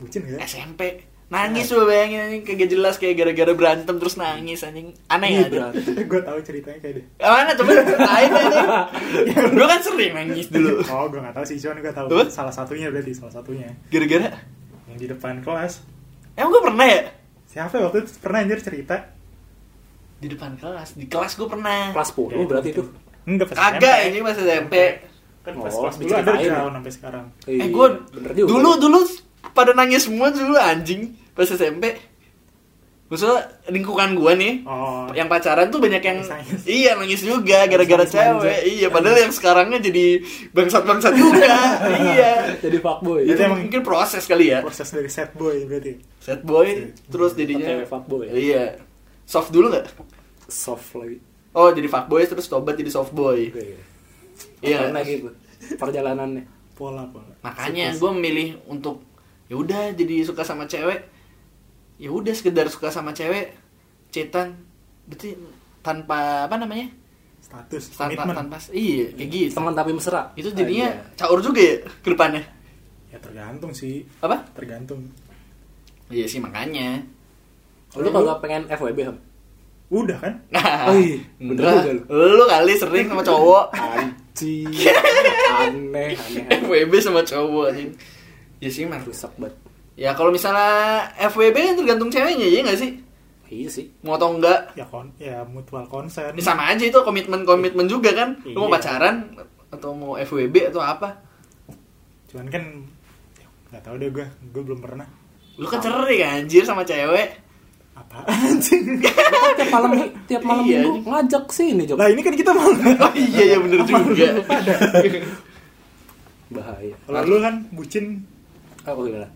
Speaker 2: bucin ya? gak
Speaker 1: SMP nangis gue bayangin anjing kagak jelas kayak gara-gara berantem terus nangis anjing aneh
Speaker 3: Iya,
Speaker 1: ya bro
Speaker 3: berantem.
Speaker 2: gue tahu ceritanya kayak deh
Speaker 1: mana coba ceritain anjing gue kan sering nangis dulu
Speaker 2: oh gue gak tahu sih cuman gue tahu
Speaker 1: Apa?
Speaker 2: salah satunya berarti salah satunya
Speaker 1: gara-gara
Speaker 2: yang di depan kelas
Speaker 1: emang gue pernah ya
Speaker 2: siapa waktu itu pernah anjir cerita
Speaker 1: di depan kelas di kelas gue pernah
Speaker 3: Kelas 10 Oh, berarti
Speaker 1: ya.
Speaker 3: itu.
Speaker 2: enggak pas
Speaker 1: kagak
Speaker 2: SMP.
Speaker 1: ini pas SMP
Speaker 2: kan
Speaker 3: Oh,
Speaker 2: pas kelas dulu
Speaker 3: diceritain.
Speaker 2: ada ground sampai sekarang
Speaker 1: eh
Speaker 3: Iya,
Speaker 1: gue
Speaker 3: bener juga.
Speaker 1: dulu dulu pada nangis semua dulu anjing pas SMP maksudnya lingkungan gue nih
Speaker 2: oh
Speaker 1: yang pacaran tuh banyak yang
Speaker 2: Nangis-nangis.
Speaker 1: iya nangis juga gara-gara
Speaker 2: Nangis-nangis manja.
Speaker 1: cewek iya padahal yang sekarangnya jadi bangsat-bangsat juga iya
Speaker 3: Jadi fuckboy.
Speaker 1: itu
Speaker 2: Jadi emang-
Speaker 1: mungkin proses kali ya
Speaker 2: proses dari sad boy berarti
Speaker 1: sad boy terus jadinya
Speaker 3: Cewek fuckboy.
Speaker 1: iya soft dulu nggak
Speaker 3: Soft lagi.
Speaker 1: oh jadi fuckboy terus tobat jadi soft boy
Speaker 3: Iya.
Speaker 1: iya
Speaker 3: Karena gitu perjalanannya.
Speaker 2: pola pola
Speaker 1: Nah. makanya gue memilih untuk ya udah jadi suka sama cewek ya udah sekedar suka sama cewek cetan berarti tanpa apa namanya
Speaker 2: status
Speaker 1: tanpa
Speaker 2: komitmen
Speaker 1: tanpa iya kayak gitu
Speaker 3: Hmm. Teman Ah, iya. tapi mesra.
Speaker 1: itu jadinya caur juga ya ke depannya
Speaker 2: ya tergantung sih
Speaker 1: apa
Speaker 2: tergantung
Speaker 1: iya sih makanya
Speaker 3: Ah, iya. Lu kagak pengen FWB, Ham?
Speaker 2: udah kan
Speaker 1: nah
Speaker 3: Oh, iya. Bener
Speaker 1: enggak.
Speaker 3: juga
Speaker 1: lu kali sering sama cowok
Speaker 3: Anjing. aneh, aneh. aneh.
Speaker 1: FWB sama cowok anjing ya sih mah
Speaker 3: Rusak banget.
Speaker 1: ya kalau misalnya FWB kan tergantung ceweknya ya nggak sih
Speaker 3: Iya sih.
Speaker 1: mau atau enggak
Speaker 2: ya kon ya mutual consent
Speaker 1: ini sama aja itu komitmen komitmen juga kan lu mau
Speaker 2: Iya.
Speaker 1: pacaran atau mau FWB atau apa
Speaker 2: cuman kan ya, nggak tahu deh gue gue belum pernah
Speaker 1: lu kan sering anjir sama cewek
Speaker 2: apa anjing
Speaker 3: Lu kan tiap malam tiap malam
Speaker 1: Iya,
Speaker 3: minggu
Speaker 1: anjing.
Speaker 3: ngajak sini, Jok.
Speaker 2: lah ini kan kita mau
Speaker 1: oh iya ya bener juga
Speaker 3: Bahaya. oh,
Speaker 2: kalau lu kan bucin
Speaker 3: Aku gimana?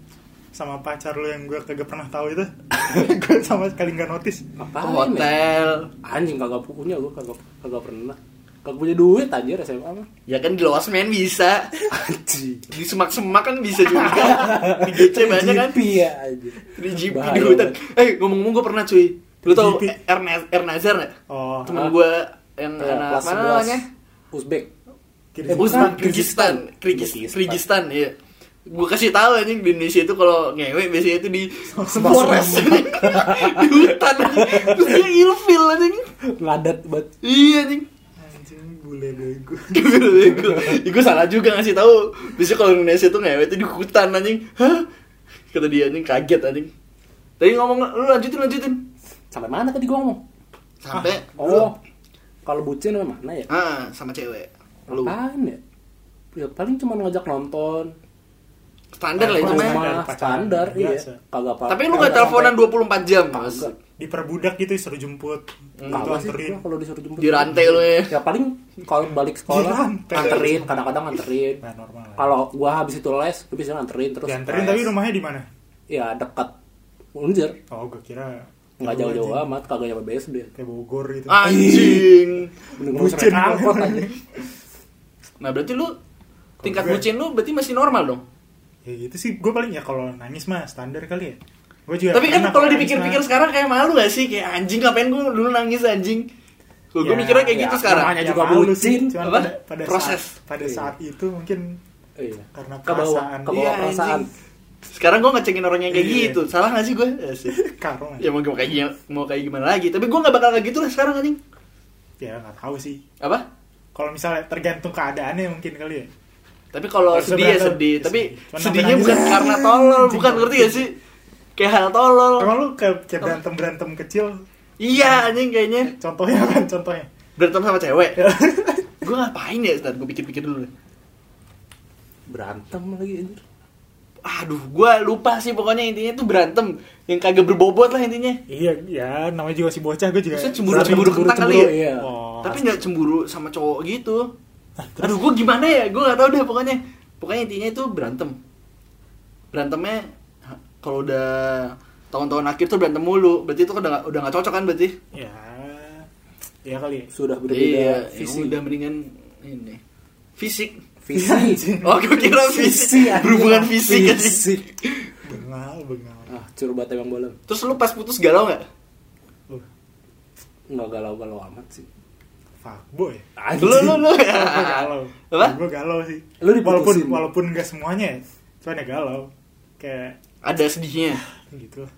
Speaker 2: sama pacar lu yang gue kagak pernah tahu itu gue sama sekali nggak notice
Speaker 1: Ke
Speaker 3: Apa?
Speaker 1: hotel
Speaker 3: Anjing kagak punya gua kagak kagak pernah. Kagak punya duit anjir SMA mah.
Speaker 1: ya kan di luas main bisa
Speaker 3: Anjing.
Speaker 1: di semak-semak kan bisa juga di GC banyak kan
Speaker 3: Iya anjir.
Speaker 1: di GP di
Speaker 3: Bahaya
Speaker 1: hutan
Speaker 3: banget.
Speaker 1: eh ngomong-ngomong gue pernah cuy lu tau
Speaker 2: GP?
Speaker 1: Ernaz- Ernazar nggak
Speaker 2: oh
Speaker 1: temen
Speaker 3: Ah.
Speaker 1: gue yang
Speaker 3: Eh,
Speaker 1: anak
Speaker 3: kelas
Speaker 1: Nah, mana
Speaker 3: 11.
Speaker 1: namanya
Speaker 3: Uzbek.
Speaker 2: kira
Speaker 3: Eh, bukan.
Speaker 1: Kirgistan Kirgis- Kirgistan iya gue kasih tahu anjing di Indonesia itu kalau ngewe biasanya itu di forest anjing. di hutan anjing. terus dia ilfil anjing
Speaker 3: Ngadat banget.
Speaker 1: iya anjing
Speaker 2: anjing bule bego
Speaker 1: gue salah juga ngasih tahu biasanya kalau Indonesia tuh ngewe itu di hutan anjing hah kata dia anjing kaget anjing tadi ngomong lu lanjutin lanjutin
Speaker 3: Sampai mana tadi gua ngomong?
Speaker 1: sampai
Speaker 3: Oh. Kalau bucin sama mana ya?
Speaker 1: ah sama cewek lu
Speaker 3: Apaan ya? Ya paling cuma ngajak nonton.
Speaker 1: standar lah itu mah
Speaker 2: Standar.
Speaker 3: Cuma
Speaker 2: pacaran,
Speaker 3: standar iya.
Speaker 2: biasa.
Speaker 3: Kagak apa.
Speaker 1: Iya, tapi lu nggak teleponan 24 jam mas
Speaker 3: Kagak.
Speaker 2: diperbudak gitu disuruh jemput gitu
Speaker 3: Kagak sih
Speaker 2: anterin
Speaker 3: gua kalau disuruh jemput.
Speaker 1: di rantai lu ya
Speaker 3: Ya paling kalau balik sekolah
Speaker 2: Dirantai.
Speaker 3: anterin, kadang-kadang anterin.
Speaker 2: Iya, nah normal lah
Speaker 3: Kalau gua habis itu les, gua bisa anterin terus.
Speaker 2: dianterin
Speaker 3: les.
Speaker 2: tapi rumahnya di mana
Speaker 3: Ya dekat Unjer.
Speaker 2: oh gue kira
Speaker 3: Nggak jauh-jauh
Speaker 2: anjing.
Speaker 3: amat, Ah, iya, kagak nyampe BSD.
Speaker 2: kayak Bogor gitu
Speaker 1: anjing
Speaker 3: Mending gua
Speaker 2: Bucin.
Speaker 3: sering angkot aja.
Speaker 1: nah berarti lu tingkat
Speaker 2: gue-
Speaker 1: bucin lu berarti masih normal dong
Speaker 2: ya gitu sih gue paling ya kalau nangis mah standar kali ya gue juga
Speaker 1: tapi kan
Speaker 2: pernah
Speaker 1: kalau
Speaker 2: nangis
Speaker 1: dipikir-pikir
Speaker 2: mah.
Speaker 1: sekarang kayak malu gak sih kayak anjing ngapain gue dulu nangis anjing gue
Speaker 2: Ya,
Speaker 1: mikirnya kayak
Speaker 3: ya,
Speaker 1: gitu sekarang
Speaker 3: namanya
Speaker 2: Ya
Speaker 3: juga
Speaker 2: malu
Speaker 3: bucin.
Speaker 2: sih, cuman
Speaker 1: Apa?
Speaker 2: pada, pada
Speaker 1: Proses.
Speaker 2: saat, pada
Speaker 3: Iya.
Speaker 2: saat itu mungkin
Speaker 3: Iya.
Speaker 2: Karena
Speaker 3: Ke bawah-
Speaker 2: perasaan.
Speaker 3: ke bawah
Speaker 1: Iya,
Speaker 3: perasaan.
Speaker 1: anjing. sekarang gue ngecengin orang yang kayak
Speaker 2: Iya.
Speaker 1: gitu salah gak sih gue Asik.
Speaker 2: karung
Speaker 1: ya
Speaker 2: aja.
Speaker 1: mau kayak gimana, mau kayak gimana lagi tapi gue nggak bakal kayak gitu lah sekarang anjing
Speaker 2: ya nggak tahu sih
Speaker 1: apa
Speaker 2: kalau misalnya tergantung keadaannya mungkin kali ya
Speaker 1: Tapi kalau
Speaker 2: Harusnya
Speaker 1: sedih ya
Speaker 2: berantem.
Speaker 1: sedih,
Speaker 2: Ya
Speaker 1: tapi
Speaker 2: sedih. Cuman
Speaker 1: sedihnya
Speaker 2: nangis
Speaker 1: bukan
Speaker 2: aja.
Speaker 1: karena tolol, bukan ngerti gak sih? Kayak hal tolol.
Speaker 2: emang lu kayak, kayak berantem berantem kecil
Speaker 1: Iya anjing kayaknya
Speaker 2: contohnya apa contohnya
Speaker 1: berantem sama cewek. gue ngapain ya? Ntar gue pikir-pikir dulu. deh.
Speaker 3: Berantem lagi anjir.
Speaker 1: Aduh, gue lupa sih pokoknya intinya tuh berantem yang kagak berbobot lah intinya.
Speaker 2: iya ya namanya juga si bocah gue juga
Speaker 1: Terus cemburu
Speaker 3: Berantem,
Speaker 1: cemburu kentang kali ya.
Speaker 3: iya.
Speaker 2: Oh. Nah,
Speaker 1: Tapi nggak cemburu sama cowok gitu. Aduh, gue gimana ya? Gue nggak tahu deh pokoknya. Pokoknya intinya itu berantem. Berantemnya ha, kalau udah tahun-tahun akhir tuh berantem mulu. Berarti itu udah nggak- udah nggak cocok kan berarti?
Speaker 2: ya ya kali ya
Speaker 3: Sudah
Speaker 1: iya,
Speaker 3: berbeda
Speaker 1: visi.
Speaker 3: visi.
Speaker 1: udah mendingan ini. Fisik.
Speaker 3: Visi.
Speaker 1: Oh, gue kira
Speaker 3: Visi,
Speaker 1: fisik.
Speaker 3: anjing.
Speaker 1: Berhubungan fisik. anjing.
Speaker 3: Fisik.
Speaker 2: bengal bengal
Speaker 3: Ah, curbat emang boleh.
Speaker 1: Terus lu pas putus galau nggak? Oh.
Speaker 2: uh,
Speaker 3: Nggak galau-galau amat sih.
Speaker 2: fuckboy
Speaker 3: Anjing.
Speaker 1: Lu lu lu.
Speaker 2: gue galau
Speaker 1: Apa?
Speaker 2: gue galau sih
Speaker 3: Lu diputusin.
Speaker 2: walaupun walaupun gak semuanya ya cuman ya galau kayak
Speaker 1: Ada sedihnya.
Speaker 2: gitu lah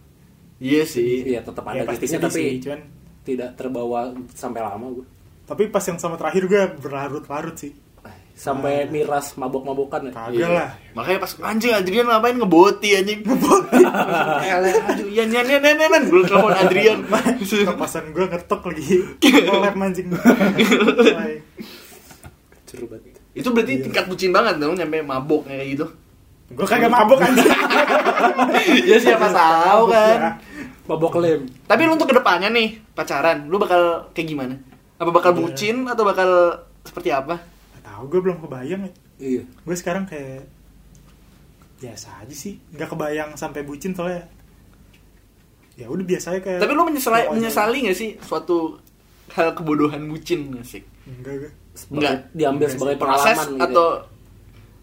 Speaker 1: Iya sih.
Speaker 3: Iya, tetap
Speaker 2: ya
Speaker 3: ada
Speaker 2: pasti sedih
Speaker 3: titiknya
Speaker 2: sih
Speaker 3: tapi
Speaker 2: cuman
Speaker 3: tidak terbawa sampai lama gue.
Speaker 2: tapi pas yang sama terakhir gue berlarut-larut sih Ah.
Speaker 3: Sampai miras mabok-mabokan ya.
Speaker 2: kagak
Speaker 1: Iya.
Speaker 2: lah
Speaker 1: Makanya pas anjing Adrian ngapain ngeboti anjing. Ngeboti. Eleh aduh iya nyan nyan nyan nyan gue telepon Adrian.
Speaker 2: kepasan gue ngetok lagi ngelap mancing Mulai.
Speaker 3: Curbat.
Speaker 1: Itu berarti
Speaker 2: Iya.
Speaker 1: tingkat bucin banget dong nyampe mabok kayak gitu.
Speaker 2: gue kagak mabuk anjing
Speaker 1: ya siapa tahu
Speaker 2: Iya, Ya.
Speaker 1: kan.
Speaker 3: Mabok lem.
Speaker 1: Tapi lu untuk kedepannya nih pacaran, lu bakal kayak gimana? Apa
Speaker 2: Iya.
Speaker 1: bakal bucin atau bakal seperti apa?
Speaker 2: Nggak tahu gue belum kebayang ya
Speaker 3: Iya.
Speaker 2: gue sekarang kayak biasa aja sih nggak kebayang sampai bucin soalnya ya udah biasa aja kayak
Speaker 1: Tapi lu menyesali,
Speaker 2: Pokoknya.
Speaker 1: menyesali gak sih suatu hal kebodohan bucin gak sih?
Speaker 2: enggak gue
Speaker 1: Enggak.
Speaker 3: Sebagai- diambil sebagai
Speaker 1: Proses
Speaker 3: pengalaman gitu.
Speaker 1: atau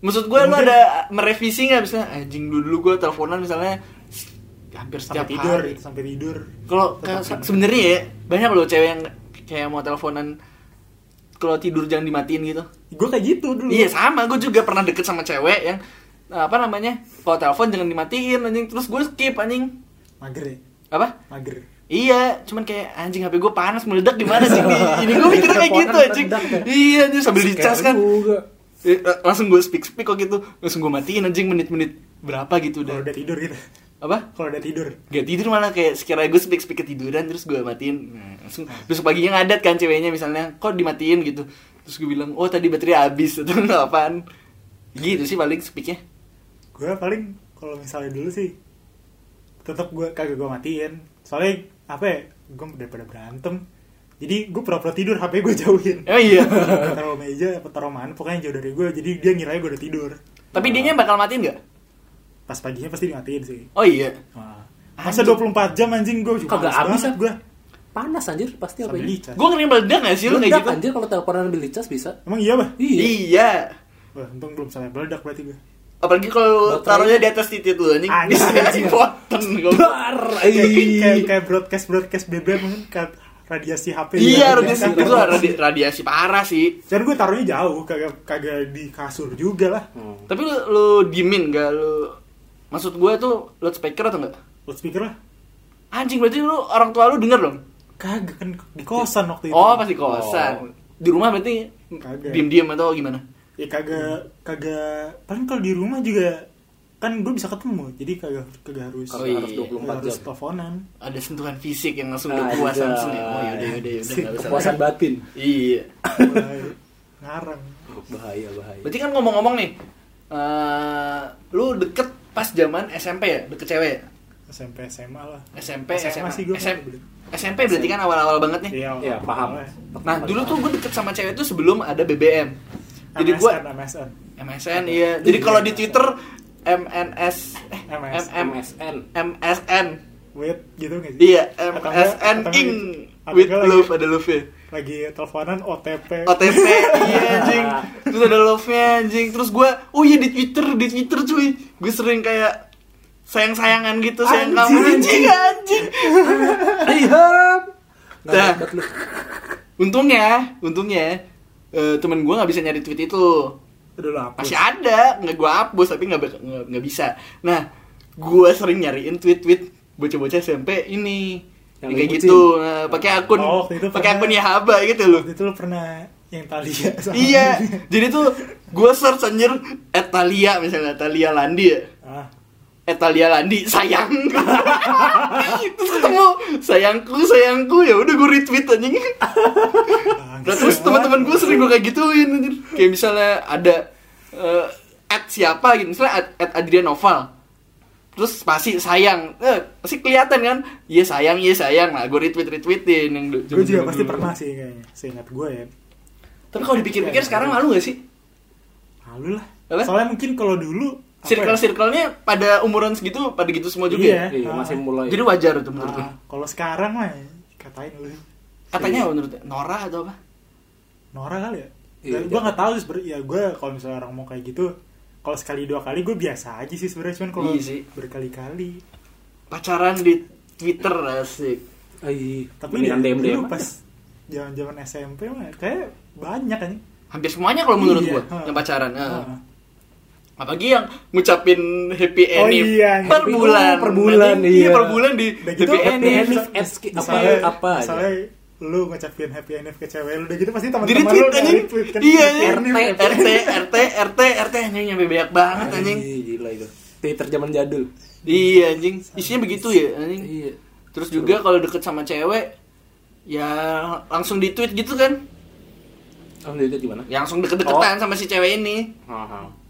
Speaker 1: maksud gue lu
Speaker 2: Mungkin-
Speaker 1: ada merevisi nggak misalnya anjing dulu dulu gue teleponan misalnya s- hampir
Speaker 2: sampai
Speaker 1: setiap
Speaker 2: tidur
Speaker 1: hari.
Speaker 2: sampai tidur
Speaker 1: Kalau
Speaker 2: Tetap
Speaker 1: ka-
Speaker 2: tidur.
Speaker 1: sebenarnya ya banyak loh cewek yang kayak mau teleponan kalau tidur jangan dimatiin gitu.
Speaker 2: gue kayak gitu dulu
Speaker 1: Iya sama, gue juga pernah deket sama cewek yang apa namanya kalau telepon jangan dimatiin anjing terus gue skip anjing
Speaker 2: mager ya
Speaker 1: apa
Speaker 2: mager
Speaker 1: Iya, cuman kayak anjing HP gue panas meledak gimana sih ini? Ini gue mikirnya kayak gitu anjing.
Speaker 2: ya.
Speaker 1: Iya, anjing sambil dicas kan.
Speaker 3: Juga.
Speaker 1: Eh, eh, langsung gue speak speak kok gitu. Langsung gue matiin anjing menit-menit berapa gitu
Speaker 2: kalau
Speaker 1: udah.
Speaker 2: udah tidur gitu
Speaker 1: Apa?
Speaker 2: kalau udah tidur
Speaker 1: Gak tidur malah kayak sekiranya gue speak speak ketiduran terus gue matiin. Nah, langsung besok paginya ngadat kan ceweknya misalnya, kok dimatiin gitu. Terus gue bilang, "Oh, tadi baterai habis." Atau nggak apaan. Gitu sih paling speaknya.
Speaker 2: gue paling kalau misalnya dulu sih tetap gue kagak gue matiin soalnya apa ya gue udah pada berantem jadi gue pura-pura tidur HP gue jauhin
Speaker 1: Oh iya.
Speaker 2: taruh meja apa taruh mana pokoknya jauh dari gue jadi dia ngira gue udah tidur
Speaker 1: Tapi dianya bakal matiin nggak?
Speaker 2: pas paginya pasti dimatiin sih
Speaker 1: Oh iya.
Speaker 2: Wah. masa 24 jam anjing gue juga
Speaker 3: Kagak
Speaker 2: males
Speaker 3: habis
Speaker 2: banget
Speaker 3: ah. Ya,
Speaker 2: gue
Speaker 3: Panas anjir pasti apa
Speaker 2: sampai
Speaker 3: ini?
Speaker 2: dicas
Speaker 1: Gue ngeri meledak gak sih lu kayak
Speaker 3: Meledak
Speaker 1: gitu?
Speaker 3: anjir kalau teleponan ambil dicas bisa.
Speaker 2: emang iya bah
Speaker 3: Iya.
Speaker 1: Iya.
Speaker 2: Wah, untung belum sampai meledak berarti gue
Speaker 1: Apalagi kalau
Speaker 3: Baterainya-
Speaker 1: taruhnya di atas titik lu anjing.
Speaker 2: Anjing.
Speaker 1: Bisa anjing potong gua.
Speaker 3: Dar.
Speaker 2: kayak,
Speaker 1: gitu.
Speaker 2: kayak, gitu.
Speaker 3: Iya.
Speaker 2: kayak broadcast broadcast BBM mungkin kayak radiasi gitu. HP
Speaker 1: Iya,
Speaker 2: juga.
Speaker 1: radiasi itu radi- radiasi parah sih.
Speaker 2: dan gue Kan taruhnya jauh kagak kagak di kasur juga lah
Speaker 3: Hmm.
Speaker 1: Tapi lu, lu diemin gak lu? Maksud gue tuh loudspeaker atau enggak?
Speaker 2: loudspeaker lah
Speaker 1: Anjing berarti lu orang tua lu denger dong?
Speaker 2: kagak kan di kosan waktu itu
Speaker 1: Oh pasti kosan. Di rumah berarti
Speaker 2: Kagak.
Speaker 1: diem-diem atau gimana?
Speaker 2: ya kagak kagak paling kalau di rumah juga kan gue bisa ketemu jadi kagak kagak harus
Speaker 1: Oh,
Speaker 3: Harus
Speaker 1: iya.
Speaker 3: 24
Speaker 2: harus
Speaker 3: jam.
Speaker 2: teleponan
Speaker 1: Ada sentuhan fisik yang langsung lu puas
Speaker 3: Anjay.
Speaker 1: langsung ya. Oh yaudah yaudah yaudah nggak usah.
Speaker 3: Kepuasan batin.
Speaker 1: Iya.
Speaker 2: Mulai ngarang
Speaker 3: Bahaya bahaya.
Speaker 1: Berarti kan ngomong-ngomong nih, eh, lu deket pas zaman SMP ya, deket cewek ya?
Speaker 2: SMP SMA lah
Speaker 1: SMP,
Speaker 2: SMA
Speaker 1: SMA,
Speaker 2: sih gue
Speaker 1: SM SMP berarti kan awal-awal banget nih.
Speaker 2: iya
Speaker 3: Iya, paham.
Speaker 1: Nah, dulu tuh gue deket sama cewek tuh sebelum ada BBM. Jadi gue
Speaker 2: MSN
Speaker 1: MSN iya. Jadi kalau di Twitter MNS eh,
Speaker 2: MS.
Speaker 1: MM
Speaker 3: MSN.
Speaker 1: MSN.
Speaker 2: wait gitu nggak sih
Speaker 1: Iya,
Speaker 2: Atau enggak-
Speaker 1: MSN
Speaker 2: atau enggak
Speaker 1: ing
Speaker 2: gitu. Atau
Speaker 1: with
Speaker 2: enggak
Speaker 1: love
Speaker 2: lagi, Eh.
Speaker 1: ada love ya.
Speaker 2: lagi teleponan OTP
Speaker 1: OTP iya anjing terus ada love nya anjing terus gue oh iya di twitter di twitter cuy gue sering kayak sayang sayangan gitu sayang kamu anjing
Speaker 3: Anjing.
Speaker 1: anjing
Speaker 3: Iya, Ayam.
Speaker 1: Dah.
Speaker 3: Nggak dapat lu.
Speaker 1: untungnya untungnya eh, temen gue nggak bisa nyari tweet itu
Speaker 2: udah lah hapus
Speaker 1: masih ada nggak gue hapus tapi nggak bak- nggak nggak bisa nah gue sering nyariin tweet tweet bocah-bocah SMP ini
Speaker 3: Yang
Speaker 1: Yang kayak
Speaker 3: bucin.
Speaker 1: gitu nah, pakai akun
Speaker 2: Oh, waktu itu
Speaker 1: pakai
Speaker 2: pernah.
Speaker 1: akun Yahaba gitu loh
Speaker 2: waktu itu lo pernah yang ya? Talia sama
Speaker 1: iya jadi tuh gue search anjir Etalia misalnya Etalia Landi ya
Speaker 2: ah
Speaker 1: Etalia Landi sayang terus ketemu sayangku sayangku ya udah gue retweet anjing nah, terus teman-teman gue sering gue kayak gituin anjir. kayak misalnya ada eh, at siapa gitu misalnya at, at Adrian Noval terus pasti sayang eh, pasti kelihatan kan iya sayang iya sayang nah gue retweet retweetin yang dulu-
Speaker 2: gue juga
Speaker 1: zaman
Speaker 2: pasti
Speaker 1: dulu.
Speaker 2: pernah sih kayaknya seingat gue ya
Speaker 1: tapi kalau dipikir-pikir sekarang malu gak sih
Speaker 2: malu lah
Speaker 1: Apa?
Speaker 2: soalnya mungkin kalau dulu apa ya?
Speaker 1: circle-circle-nya pada umuran segitu pada gitu semua juga
Speaker 2: Iya.
Speaker 1: ya?
Speaker 3: Iya, masih mulai.
Speaker 1: Jadi wajar tuh menurut gue.
Speaker 2: Ah, kalau sekarang mah ya, katain lu
Speaker 1: Katanya apa menurut ya? Nora atau apa?
Speaker 2: Nora kali ya
Speaker 3: Iya,
Speaker 2: gue nggak tahu sih sebenarnya ya gue kalau misalnya orang mau kayak gitu kalau sekali dua kali gue biasa aja sih sebenarnya cuman kalau
Speaker 1: Iya sih.
Speaker 2: berkali-kali
Speaker 1: Pacaran di Twitter asik.
Speaker 3: Ay,
Speaker 2: tapi
Speaker 3: ini
Speaker 2: ya,
Speaker 3: DM DM.
Speaker 2: dulu pas zaman zaman SMP mah ya, kayak banyak kan
Speaker 1: Hampir semuanya kalau menurut
Speaker 2: Iya, Ah.
Speaker 1: gue
Speaker 2: ha.
Speaker 1: yang pacaran. ah. ha. Apalagi yang ngucapin happy
Speaker 2: Oh
Speaker 1: ending
Speaker 2: iya,
Speaker 1: per
Speaker 2: happy-
Speaker 1: bulan.
Speaker 3: oh, per bulan,
Speaker 1: Berarti-
Speaker 3: iya.
Speaker 1: per bulan di
Speaker 2: Udah gitu,
Speaker 1: happy
Speaker 3: happy
Speaker 1: ending.
Speaker 3: ending.
Speaker 2: Misal-
Speaker 3: SK, apa-
Speaker 2: misalnya-
Speaker 3: apa aja.
Speaker 2: misalnya lu ngucapin happy end ke cewek lu udah gitu pasti
Speaker 1: Di
Speaker 2: teman-teman lu
Speaker 1: retweet
Speaker 2: udah
Speaker 1: anjing.
Speaker 2: retweet kan
Speaker 1: Iya,
Speaker 2: happy end,
Speaker 1: iya.
Speaker 2: happy end.
Speaker 1: RT, RT, RT, RT anjing nyampe banyak banget anjing.
Speaker 3: Ay, gila itu. Twitter zaman jadul.
Speaker 1: Iya anjing, isinya begitu ya anjing.
Speaker 3: Iya.
Speaker 1: Terus juga kalau deket sama cewek ya langsung di tweet gitu kan.
Speaker 3: Oh, itu gimana?
Speaker 1: Ya, langsung deket-deketan sama si cewek ini.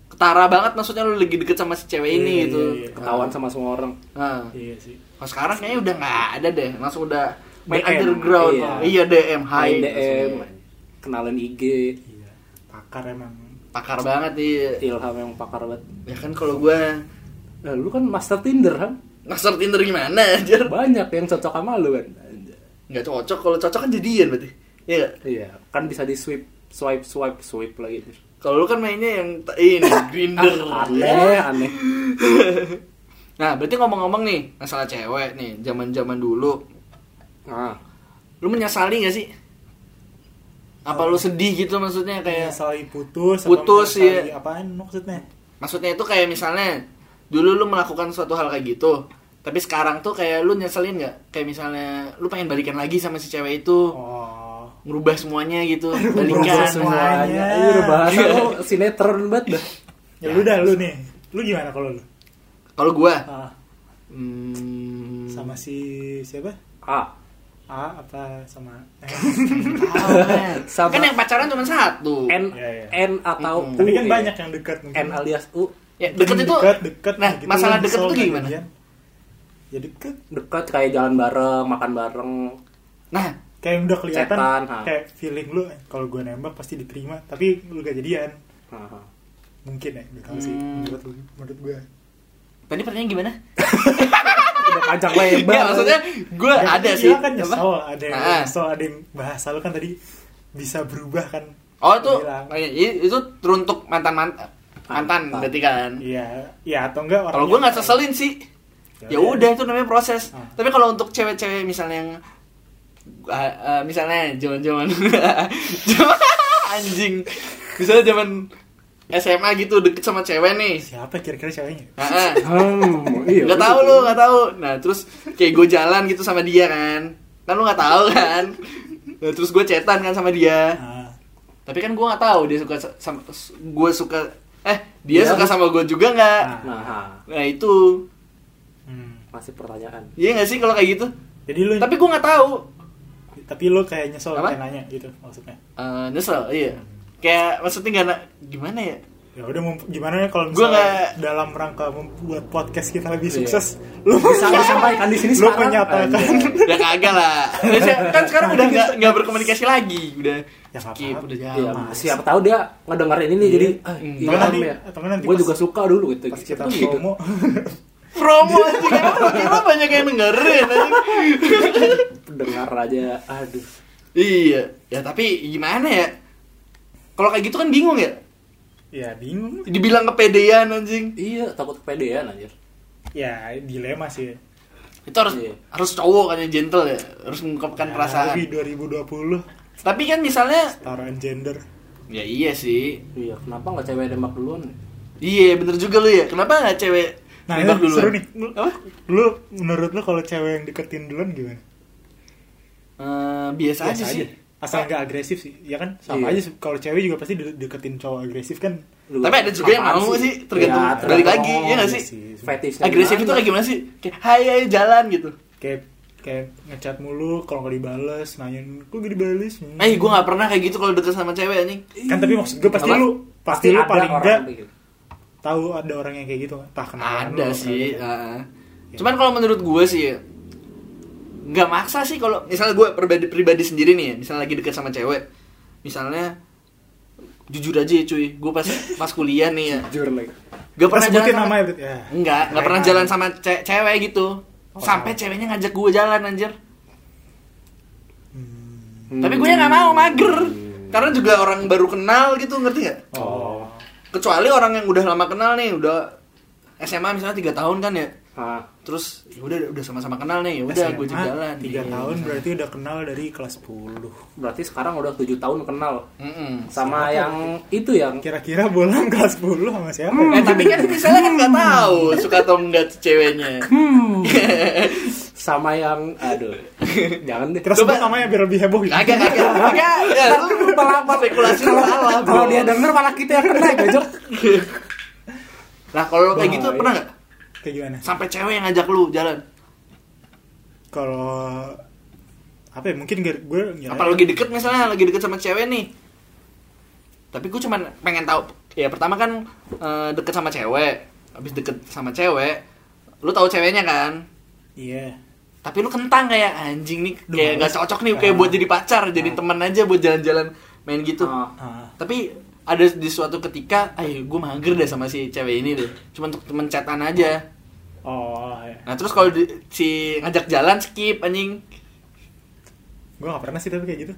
Speaker 1: Ketara banget maksudnya lu lagi deket sama si cewek ini
Speaker 2: Iya,
Speaker 1: gitu.
Speaker 2: iya, iya.
Speaker 3: Ketahuan sama semua orang.
Speaker 1: Nah,
Speaker 2: iya sih
Speaker 1: kalau sekarang kayaknya udah nggak ada deh, langsung udah main
Speaker 3: DM,
Speaker 1: underground.
Speaker 3: iya.
Speaker 1: Iya, DM, hi.
Speaker 3: Main DM, kenalan IG,
Speaker 2: iya pakar emang
Speaker 1: Pakar banget iya.
Speaker 3: Ilham yang pakar banget.
Speaker 1: Ya kan kalau gua
Speaker 3: Nah, lu kan master Tinder, kan?
Speaker 1: ngasar Tinder gimana anjir?
Speaker 3: Banyak yang cocok sama lu, kan?
Speaker 1: Nggak cocok, kalau cocok kan jadian berarti. Iya nggak?
Speaker 3: Iya, kan bisa di swipe, swipe, swipe, swipe lagi.
Speaker 1: Kalau lu kan mainnya yang t- ini, Grinder.
Speaker 3: Ah, aneh, aneh.
Speaker 1: Nah, berarti ngomong-ngomong nih masalah cewek nih, zaman-zaman dulu,
Speaker 3: Nah,
Speaker 1: lu menyesali gak sih? Apa lu sedih gitu maksudnya kayak?
Speaker 2: saling putus
Speaker 1: Putus,
Speaker 2: menyesali
Speaker 1: iya.
Speaker 2: apaan maksudnya
Speaker 1: Maksudnya itu kayak misalnya dulu lu melakukan suatu hal kayak gitu, tapi sekarang tuh kayak lu nyeselin nggak? Kayak misalnya lu pengen balikan lagi sama si cewek itu,
Speaker 2: oh
Speaker 1: ngerubah semuanya gitu,
Speaker 2: ngerubah
Speaker 1: balikan.
Speaker 2: semua.
Speaker 3: semuanya.
Speaker 2: Semuanya.
Speaker 3: Iya, udah bahasa lu sinetron banget dah.
Speaker 2: ya lu dah lu nih lu gimana kalau lu
Speaker 1: Kalau gua,
Speaker 2: Ah,
Speaker 1: hmm,
Speaker 2: sama si siapa
Speaker 3: Ah,
Speaker 2: A apa sama eh,
Speaker 3: Sama-
Speaker 1: kan yang pacaran cuma satu.
Speaker 3: N,
Speaker 2: Iya, iya.
Speaker 3: N atau U.
Speaker 2: tapi kan
Speaker 3: ya.
Speaker 2: banyak yang gitu. dekat mungkin
Speaker 3: N alias U
Speaker 1: ya, deket itu.
Speaker 2: dekat dekat
Speaker 1: nah,
Speaker 2: gitu
Speaker 1: masalah
Speaker 2: kan,
Speaker 1: deket
Speaker 2: kesel
Speaker 1: itu
Speaker 2: kan
Speaker 1: gimana?
Speaker 2: jadian. ya deket
Speaker 3: dekat kayak jalan bareng, makan bareng.
Speaker 1: Nah,
Speaker 2: kayak udah kelihatan
Speaker 3: Cetan, ha.
Speaker 2: kayak feeling lu eh, kalau gue nembak pasti diterima tapi lu gak jadian
Speaker 3: Haha.
Speaker 2: mungkin ya gak tahu sih
Speaker 1: Hmm.
Speaker 2: menurut lu- menurut gue
Speaker 1: tadi pertanyaan gimana?
Speaker 3: Udah panjang lebar.
Speaker 1: Iya, maksudnya gue
Speaker 2: Ya,
Speaker 1: ada
Speaker 2: iya
Speaker 1: sih.
Speaker 2: kan
Speaker 1: Apa?
Speaker 2: nyesel ada yang
Speaker 1: Ah.
Speaker 2: nyesel ada yang bahasa lu kan tadi bisa berubah kan
Speaker 1: Oh itu
Speaker 2: Bilang.
Speaker 1: i- itu teruntuk mantan mantan mantan
Speaker 3: Mantan.
Speaker 1: berarti kan.
Speaker 2: iya iya atau enggak orang
Speaker 1: Kalau gue
Speaker 2: yang-
Speaker 1: nggak seselin sih, ya
Speaker 2: Ya
Speaker 1: udah itu namanya proses.
Speaker 2: Ah.
Speaker 1: Tapi kalau untuk cewek-cewek misalnya yang ah, ah, misalnya zaman-zaman anjing, misalnya zaman SMA gitu deket sama cewek nih. Ah,
Speaker 2: siapa kira-kira ceweknya
Speaker 1: Heeh.
Speaker 3: Hmm, iya.
Speaker 1: Gak tau lu, gak tau Nah terus kayak gue jalan gitu sama dia kan Kan lu gak tau kan Nah, Terus gue cetan kan sama dia
Speaker 2: Ah,
Speaker 1: Tapi kan gue nggak tahu dia suka sa- sama gue suka eh dia
Speaker 3: Iya.
Speaker 1: suka sama gue juga nggak.
Speaker 3: Nah, ha.
Speaker 1: Nah itu
Speaker 2: hmm.
Speaker 3: masih pertanyaan.
Speaker 1: iya nggak sih kalau kayak gitu.
Speaker 2: jadi lu
Speaker 1: Tapi gue nggak tahu
Speaker 2: tapi lu kayak nyesel
Speaker 1: Apa?
Speaker 2: kayak nanya gitu maksudnya
Speaker 1: Eh, nyesel iya.
Speaker 2: Hmm.
Speaker 1: Kayak maksudnya nggak na- gimana ya?
Speaker 2: ya udah mem- gimana ya kalau
Speaker 1: Gua
Speaker 2: misalnya
Speaker 1: nggak-
Speaker 2: dalam rangka membuat podcast kita lebih
Speaker 3: Iya.
Speaker 2: sukses lu
Speaker 3: Bisa lu sampaikan di sini
Speaker 2: lu
Speaker 3: sekarang.
Speaker 2: menyatakan.
Speaker 3: Anjay.
Speaker 1: Ya kagak lah. Nah, saya- kan sekarang udah nggak nggak berkomunikasi lagi udah.
Speaker 2: Ya, nggak
Speaker 1: skip
Speaker 2: apa-apa.
Speaker 1: udah jalan.
Speaker 3: Iya,
Speaker 2: Mas.
Speaker 3: siapa tahu dia ngedengerin ini jadi ah,
Speaker 1: Hmm.
Speaker 3: iya,
Speaker 2: Atau nanti-
Speaker 3: ya.
Speaker 2: atau nanti
Speaker 3: Gue
Speaker 2: pas-
Speaker 3: juga suka dulu
Speaker 1: Iya,
Speaker 3: gitu.
Speaker 2: pas kita
Speaker 3: Tuh gitu.
Speaker 2: promo
Speaker 1: Promo aja kan lu kira banyak yang dengerin. anjing.
Speaker 3: Dengar aja. Aduh.
Speaker 1: iya. Ya tapi gimana ya? Kalau kayak gitu kan bingung ya.
Speaker 2: ya bingung
Speaker 1: Dibilang kepedean anjing.
Speaker 3: Iya, takut kepedean anjir.
Speaker 2: ya dilema sih
Speaker 1: itu harus
Speaker 3: Iya.
Speaker 1: harus cowok kan yang gentle ya harus mengungkapkan
Speaker 2: Ya,
Speaker 1: perasaan
Speaker 2: tapi 2020
Speaker 1: tapi kan misalnya
Speaker 2: taruhan gender
Speaker 1: ya iya sih
Speaker 3: Iya, kenapa nggak cewek nembak duluan?
Speaker 1: iya bener juga lu ya kenapa nggak cewek
Speaker 2: Nah,
Speaker 1: nembak
Speaker 2: ini seru nih.
Speaker 1: apa
Speaker 2: lu menurut lu kalau cewek yang deketin duluan gimana
Speaker 1: Eh, biasa,
Speaker 3: Biasa
Speaker 1: aja sih
Speaker 3: aja.
Speaker 2: asal nggak agresif sih ya kan sama
Speaker 3: Iya.
Speaker 2: aja se- kalau cewek juga pasti de- deketin cowok agresif kan
Speaker 3: Lu-
Speaker 1: Tapi ada juga yang
Speaker 3: apaan
Speaker 1: mau sih, tergantung
Speaker 3: Iya,
Speaker 1: balik
Speaker 3: tergantung
Speaker 1: lagi, iya nggak sih?
Speaker 3: fetishnya
Speaker 1: Agresif itu
Speaker 3: gimana.
Speaker 1: kayak gimana sih? Kayak hai hai jalan gitu.
Speaker 2: kayak kayak ngechat mulu kalau nggak dibales nanyain kok gak dibales Hmm.
Speaker 1: Eh, gue nggak pernah kayak gitu kalau deket sama cewek anjing.
Speaker 2: kan tapi maksud gue pasti
Speaker 3: Apa?
Speaker 2: lu pasti, lu
Speaker 3: ada
Speaker 2: paling
Speaker 3: orang gitu.
Speaker 2: nggak
Speaker 3: begitu.
Speaker 2: tahu ada orang yang kayak gitu kan entah kenalan
Speaker 1: gitu. Ada
Speaker 2: lu, gitu?
Speaker 1: sih.
Speaker 2: kenal
Speaker 1: ah.
Speaker 2: Ya.
Speaker 1: Cuman kalau menurut gue sih ya, nggak maksa sih kalau misalnya gue pribadi pribadi sendiri nih, ya, misalnya lagi deket sama cewek, misalnya jujur aja ya cuy, gue pas pas kuliah nih ya,
Speaker 3: jujur lagi
Speaker 2: lu.
Speaker 1: gak
Speaker 2: Kita
Speaker 1: pernah jalan
Speaker 2: sebutin
Speaker 1: sama, Hmm.
Speaker 2: nama ya Bet? ya
Speaker 1: enggak, nggak pernah
Speaker 3: Rena.
Speaker 1: jalan sama ce- cewek gitu,
Speaker 2: Oh.
Speaker 1: sampai ceweknya ngajak gue jalan anjir.
Speaker 2: Hmm.
Speaker 1: Hmm. Tapi gue nggak mau mager, karena juga orang baru kenal gitu ngerti nggak?
Speaker 3: oh
Speaker 1: Kecuali orang yang udah lama kenal nih, udah SMA misalnya tiga tahun kan ya,
Speaker 3: ah
Speaker 1: terus ya udah udah sama-sama kenal nih ya udah gue ajak jalan
Speaker 2: Ah, tiga
Speaker 1: Iya.
Speaker 2: tahun berarti udah kenal dari kelas 10
Speaker 3: berarti sekarang udah tujuh tahun kenal
Speaker 1: Mm-mm.
Speaker 3: sama yang itu yang
Speaker 2: kira-kira bolang kelas 10 sama siapa ya?
Speaker 1: eh tapi kan misalnya kan nggak tahu suka atau enggak ceweknya
Speaker 3: sama yang aduh jangan deh
Speaker 2: kita
Speaker 1: Coba-
Speaker 2: sebut namanya biar lebih heboh gitu
Speaker 1: agak agak agak ya lu malah spekulasi lu salah
Speaker 3: kalau
Speaker 1: bro.
Speaker 3: dia denger malah kita yang kena gajok
Speaker 1: lah kalau kayak gitu
Speaker 3: Bahaya.
Speaker 1: pernah nggak
Speaker 2: kayak gimana
Speaker 1: sampai cewek yang ngajak lu jalan
Speaker 2: kalau apa ya mungkin gak- gue ngira-
Speaker 1: apa lagi deket misalnya lagi deket sama cewek nih tapi gue cuman pengen tahu ya pertama kan eh, deket sama cewek habis deket sama cewek lu tahu ceweknya kan
Speaker 2: iya
Speaker 1: tapi lu kentang kayak anjing nih
Speaker 2: Duh,
Speaker 1: kayak nggak
Speaker 2: males.
Speaker 1: cocok nih kayak
Speaker 2: Ah.
Speaker 1: buat jadi pacar jadi teman aja buat jalan-jalan main gitu
Speaker 3: Ah.
Speaker 2: Ah,
Speaker 1: tapi ada di suatu ketika ayo gue mager deh sama si cewek ini deh cuma untuk temen chatan aja
Speaker 2: oh ya.
Speaker 1: nah terus kalau di- si ngajak jalan skip anjing
Speaker 2: gue gak pernah sih tapi kayak gitu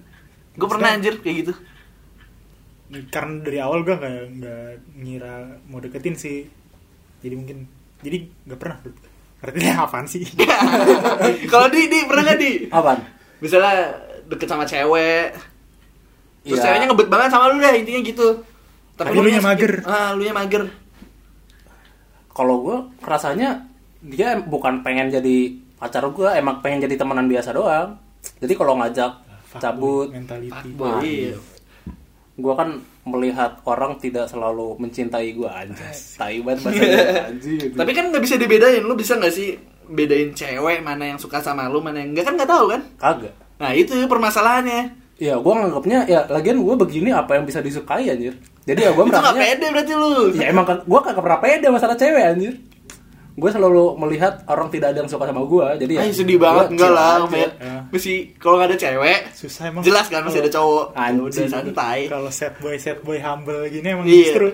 Speaker 1: gue pernah anjir kayak gitu
Speaker 2: karena dari awal gue nggak nggak ngira mau deketin sih jadi mungkin jadi nggak pernah artinya apaan sih
Speaker 1: kalau di di pernah gak di
Speaker 3: apaan
Speaker 1: misalnya deket sama cewek terus
Speaker 3: Iya.
Speaker 1: ceweknya ngebet banget sama lu deh intinya gitu
Speaker 2: Tapi lu nya
Speaker 1: skip.
Speaker 2: mager.
Speaker 1: ah lu nya mager
Speaker 3: kalau gue rasanya dia bukan pengen jadi pacar gue emang pengen jadi temenan biasa doang jadi kalau ngajak
Speaker 2: Fuckboy
Speaker 3: cabut
Speaker 2: mentality
Speaker 1: Fuckboy, iya.
Speaker 3: gue kan melihat orang tidak selalu mencintai gue anjas tai banget bahasanya anjing
Speaker 1: Tapi kan nggak bisa dibedain, lu bisa nggak sih bedain cewek mana yang suka sama lu, mana yang nggak kan nggak tahu kan?
Speaker 3: kagak
Speaker 1: Nah itu permasalahannya.
Speaker 3: ya gue nganggapnya ya lagian gue begini apa yang bisa disukai anjir jadi ya gue
Speaker 1: itu nggak
Speaker 3: merasanya
Speaker 1: pede berarti lu.
Speaker 3: ya emang gue kagak pernah pede masalah cewek anjir gue selalu melihat orang tidak ada yang suka sama gue jadi ya
Speaker 1: Ay, sedih
Speaker 3: gua
Speaker 1: banget enggak
Speaker 3: chill
Speaker 1: lah,
Speaker 3: aja.
Speaker 1: Met.
Speaker 2: Ya.
Speaker 1: Mesti kalau nggak ada cewek,
Speaker 2: susah emang
Speaker 1: jelas kan masih ada cowok.
Speaker 3: Anjing.
Speaker 1: Udah santai.
Speaker 2: kalau set boy set boy humble gini emang
Speaker 1: Iya.
Speaker 2: justru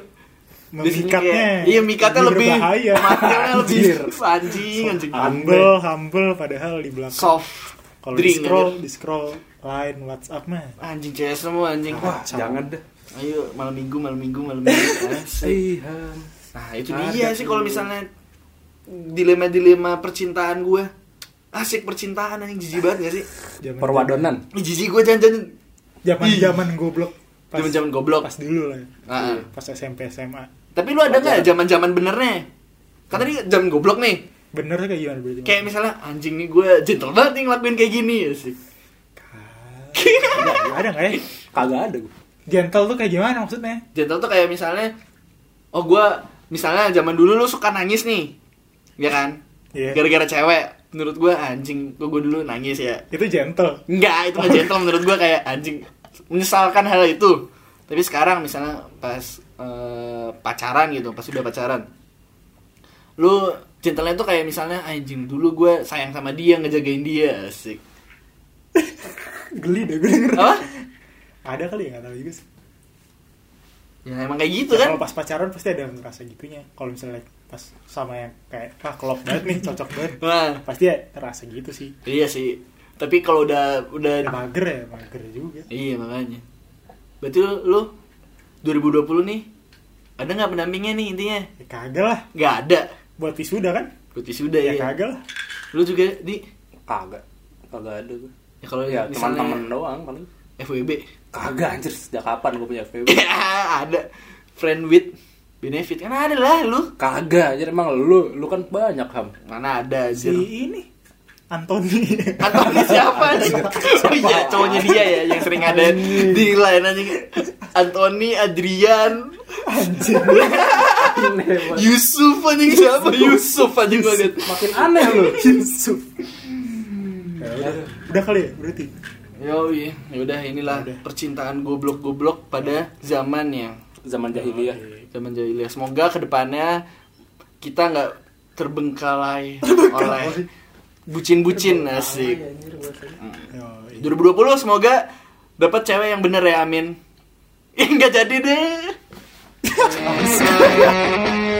Speaker 1: Di sini kayak-
Speaker 2: memikatnya
Speaker 1: Iya, mikatnya lebih
Speaker 2: berbahaya
Speaker 1: materialnya lebih
Speaker 3: Anjir.
Speaker 1: anjing, anjing.
Speaker 2: humble humble padahal di belakang
Speaker 1: Soft.
Speaker 2: kalau di
Speaker 1: drink,
Speaker 2: scroll
Speaker 1: anjir.
Speaker 2: di scroll line WhatsApp mah
Speaker 1: Anjing cewek semua anjing.
Speaker 3: wah jangan deh
Speaker 1: Ayo malam minggu, malam minggu, malam minggu. Asik.
Speaker 2: Iya.
Speaker 3: Sihan.
Speaker 1: Nah itu
Speaker 3: Ada
Speaker 1: dia sih kalau
Speaker 3: tuh.
Speaker 1: misalnya dilema-dilema percintaan gue asik percintaan anjing jijik banget gak sih?
Speaker 2: Zaman-
Speaker 3: perwadonan
Speaker 1: Ih, jijik gue jangan-jangan
Speaker 2: zaman zaman goblok Pas-
Speaker 1: Zaman-zaman Iya. goblok.
Speaker 2: pas Iya. dulu lah
Speaker 1: Ah.
Speaker 2: pas SMP SMA
Speaker 1: Tapi lu ada nggak zaman-zaman benernya? Kan tadi jam goblok nih.
Speaker 2: bener kayak gimana berarti
Speaker 1: Kayak misalnya anjing nih gue gentle banget nih ngelakuin kayak gini ya sih.
Speaker 2: Nggak ada nggak ya
Speaker 3: kagak ada gue
Speaker 2: gentle tuh kayak gimana maksudnya
Speaker 1: Gentle tuh kayak misalnya oh gue misalnya zaman dulu lu suka nangis nih. Ya kan?
Speaker 2: Iya.
Speaker 1: Gara-gara cewek menurut gue anjing kok gue dulu nangis ya.
Speaker 2: itu gentle
Speaker 1: Enggak, itu nggak gentle menurut gua kayak anjing menyesalkan hal itu. Tapi sekarang misalnya pas eh, pacaran gitu, pas udah pacaran. Lu gentle itu kayak misalnya anjing dulu gua sayang sama dia, ngejagain dia, asik.
Speaker 2: geli deh gue denger
Speaker 1: Apa?
Speaker 2: ada kali ya nggak tahu juga sih
Speaker 1: Ya emang kayak gitu
Speaker 2: Ya,
Speaker 1: kan.
Speaker 2: kalau pas pacaran pasti ada yang ngerasa gitunya kalau misalnya pas sama yang kayak ah klop banget nih cocok banget
Speaker 1: Nah,
Speaker 2: pasti ya terasa gitu sih
Speaker 1: iya sih. Tapi kalau udah udah
Speaker 2: ya, mager ya mager juga
Speaker 1: iya makanya. Berarti lu, lu 2020 nih ada nggak pendampingnya nih intinya?
Speaker 2: ya kagak lah
Speaker 1: Nggak ada.
Speaker 2: buat wisuda kan
Speaker 1: Berarti sudah
Speaker 2: ya
Speaker 1: ya.
Speaker 2: kagak lah
Speaker 1: Lu juga di
Speaker 3: kagak kagak ada gue
Speaker 1: ya kalau
Speaker 3: ya teman
Speaker 1: misalnya
Speaker 3: teman doang paling
Speaker 1: FWB
Speaker 3: kagak anjir sejak kapan gue punya FBB
Speaker 1: Ya, ada friend with benefit kan ada lah lu
Speaker 3: kagak anjir emang lu lu kan banyak ham
Speaker 1: mana ada
Speaker 2: si
Speaker 1: anjir
Speaker 2: ini Anthony
Speaker 1: Antoni siapa nih? Oh iya, cowoknya dia ya yang sering ada di lain anjing. Antoni, Adrian,
Speaker 2: anjing
Speaker 3: Aneh banget.
Speaker 1: Yusuf anjing siapa? Yusuf anjing gua liat.
Speaker 3: makin aneh lu
Speaker 2: Yusuf Ya udah. udah kali ya berarti
Speaker 1: Yo, yaudah inilah
Speaker 2: Yaudah.
Speaker 1: percintaan goblok-goblok pada zamannya.
Speaker 3: zaman
Speaker 1: Iya.
Speaker 3: jahiliyah
Speaker 1: Zaman jahiliyah. Semoga kedepannya kita nggak terbengkalai oleh bucin-bucin asik.
Speaker 2: Yoi.
Speaker 1: 2020 semoga dapat cewek yang bener ya, amin. Enggak jadi deh.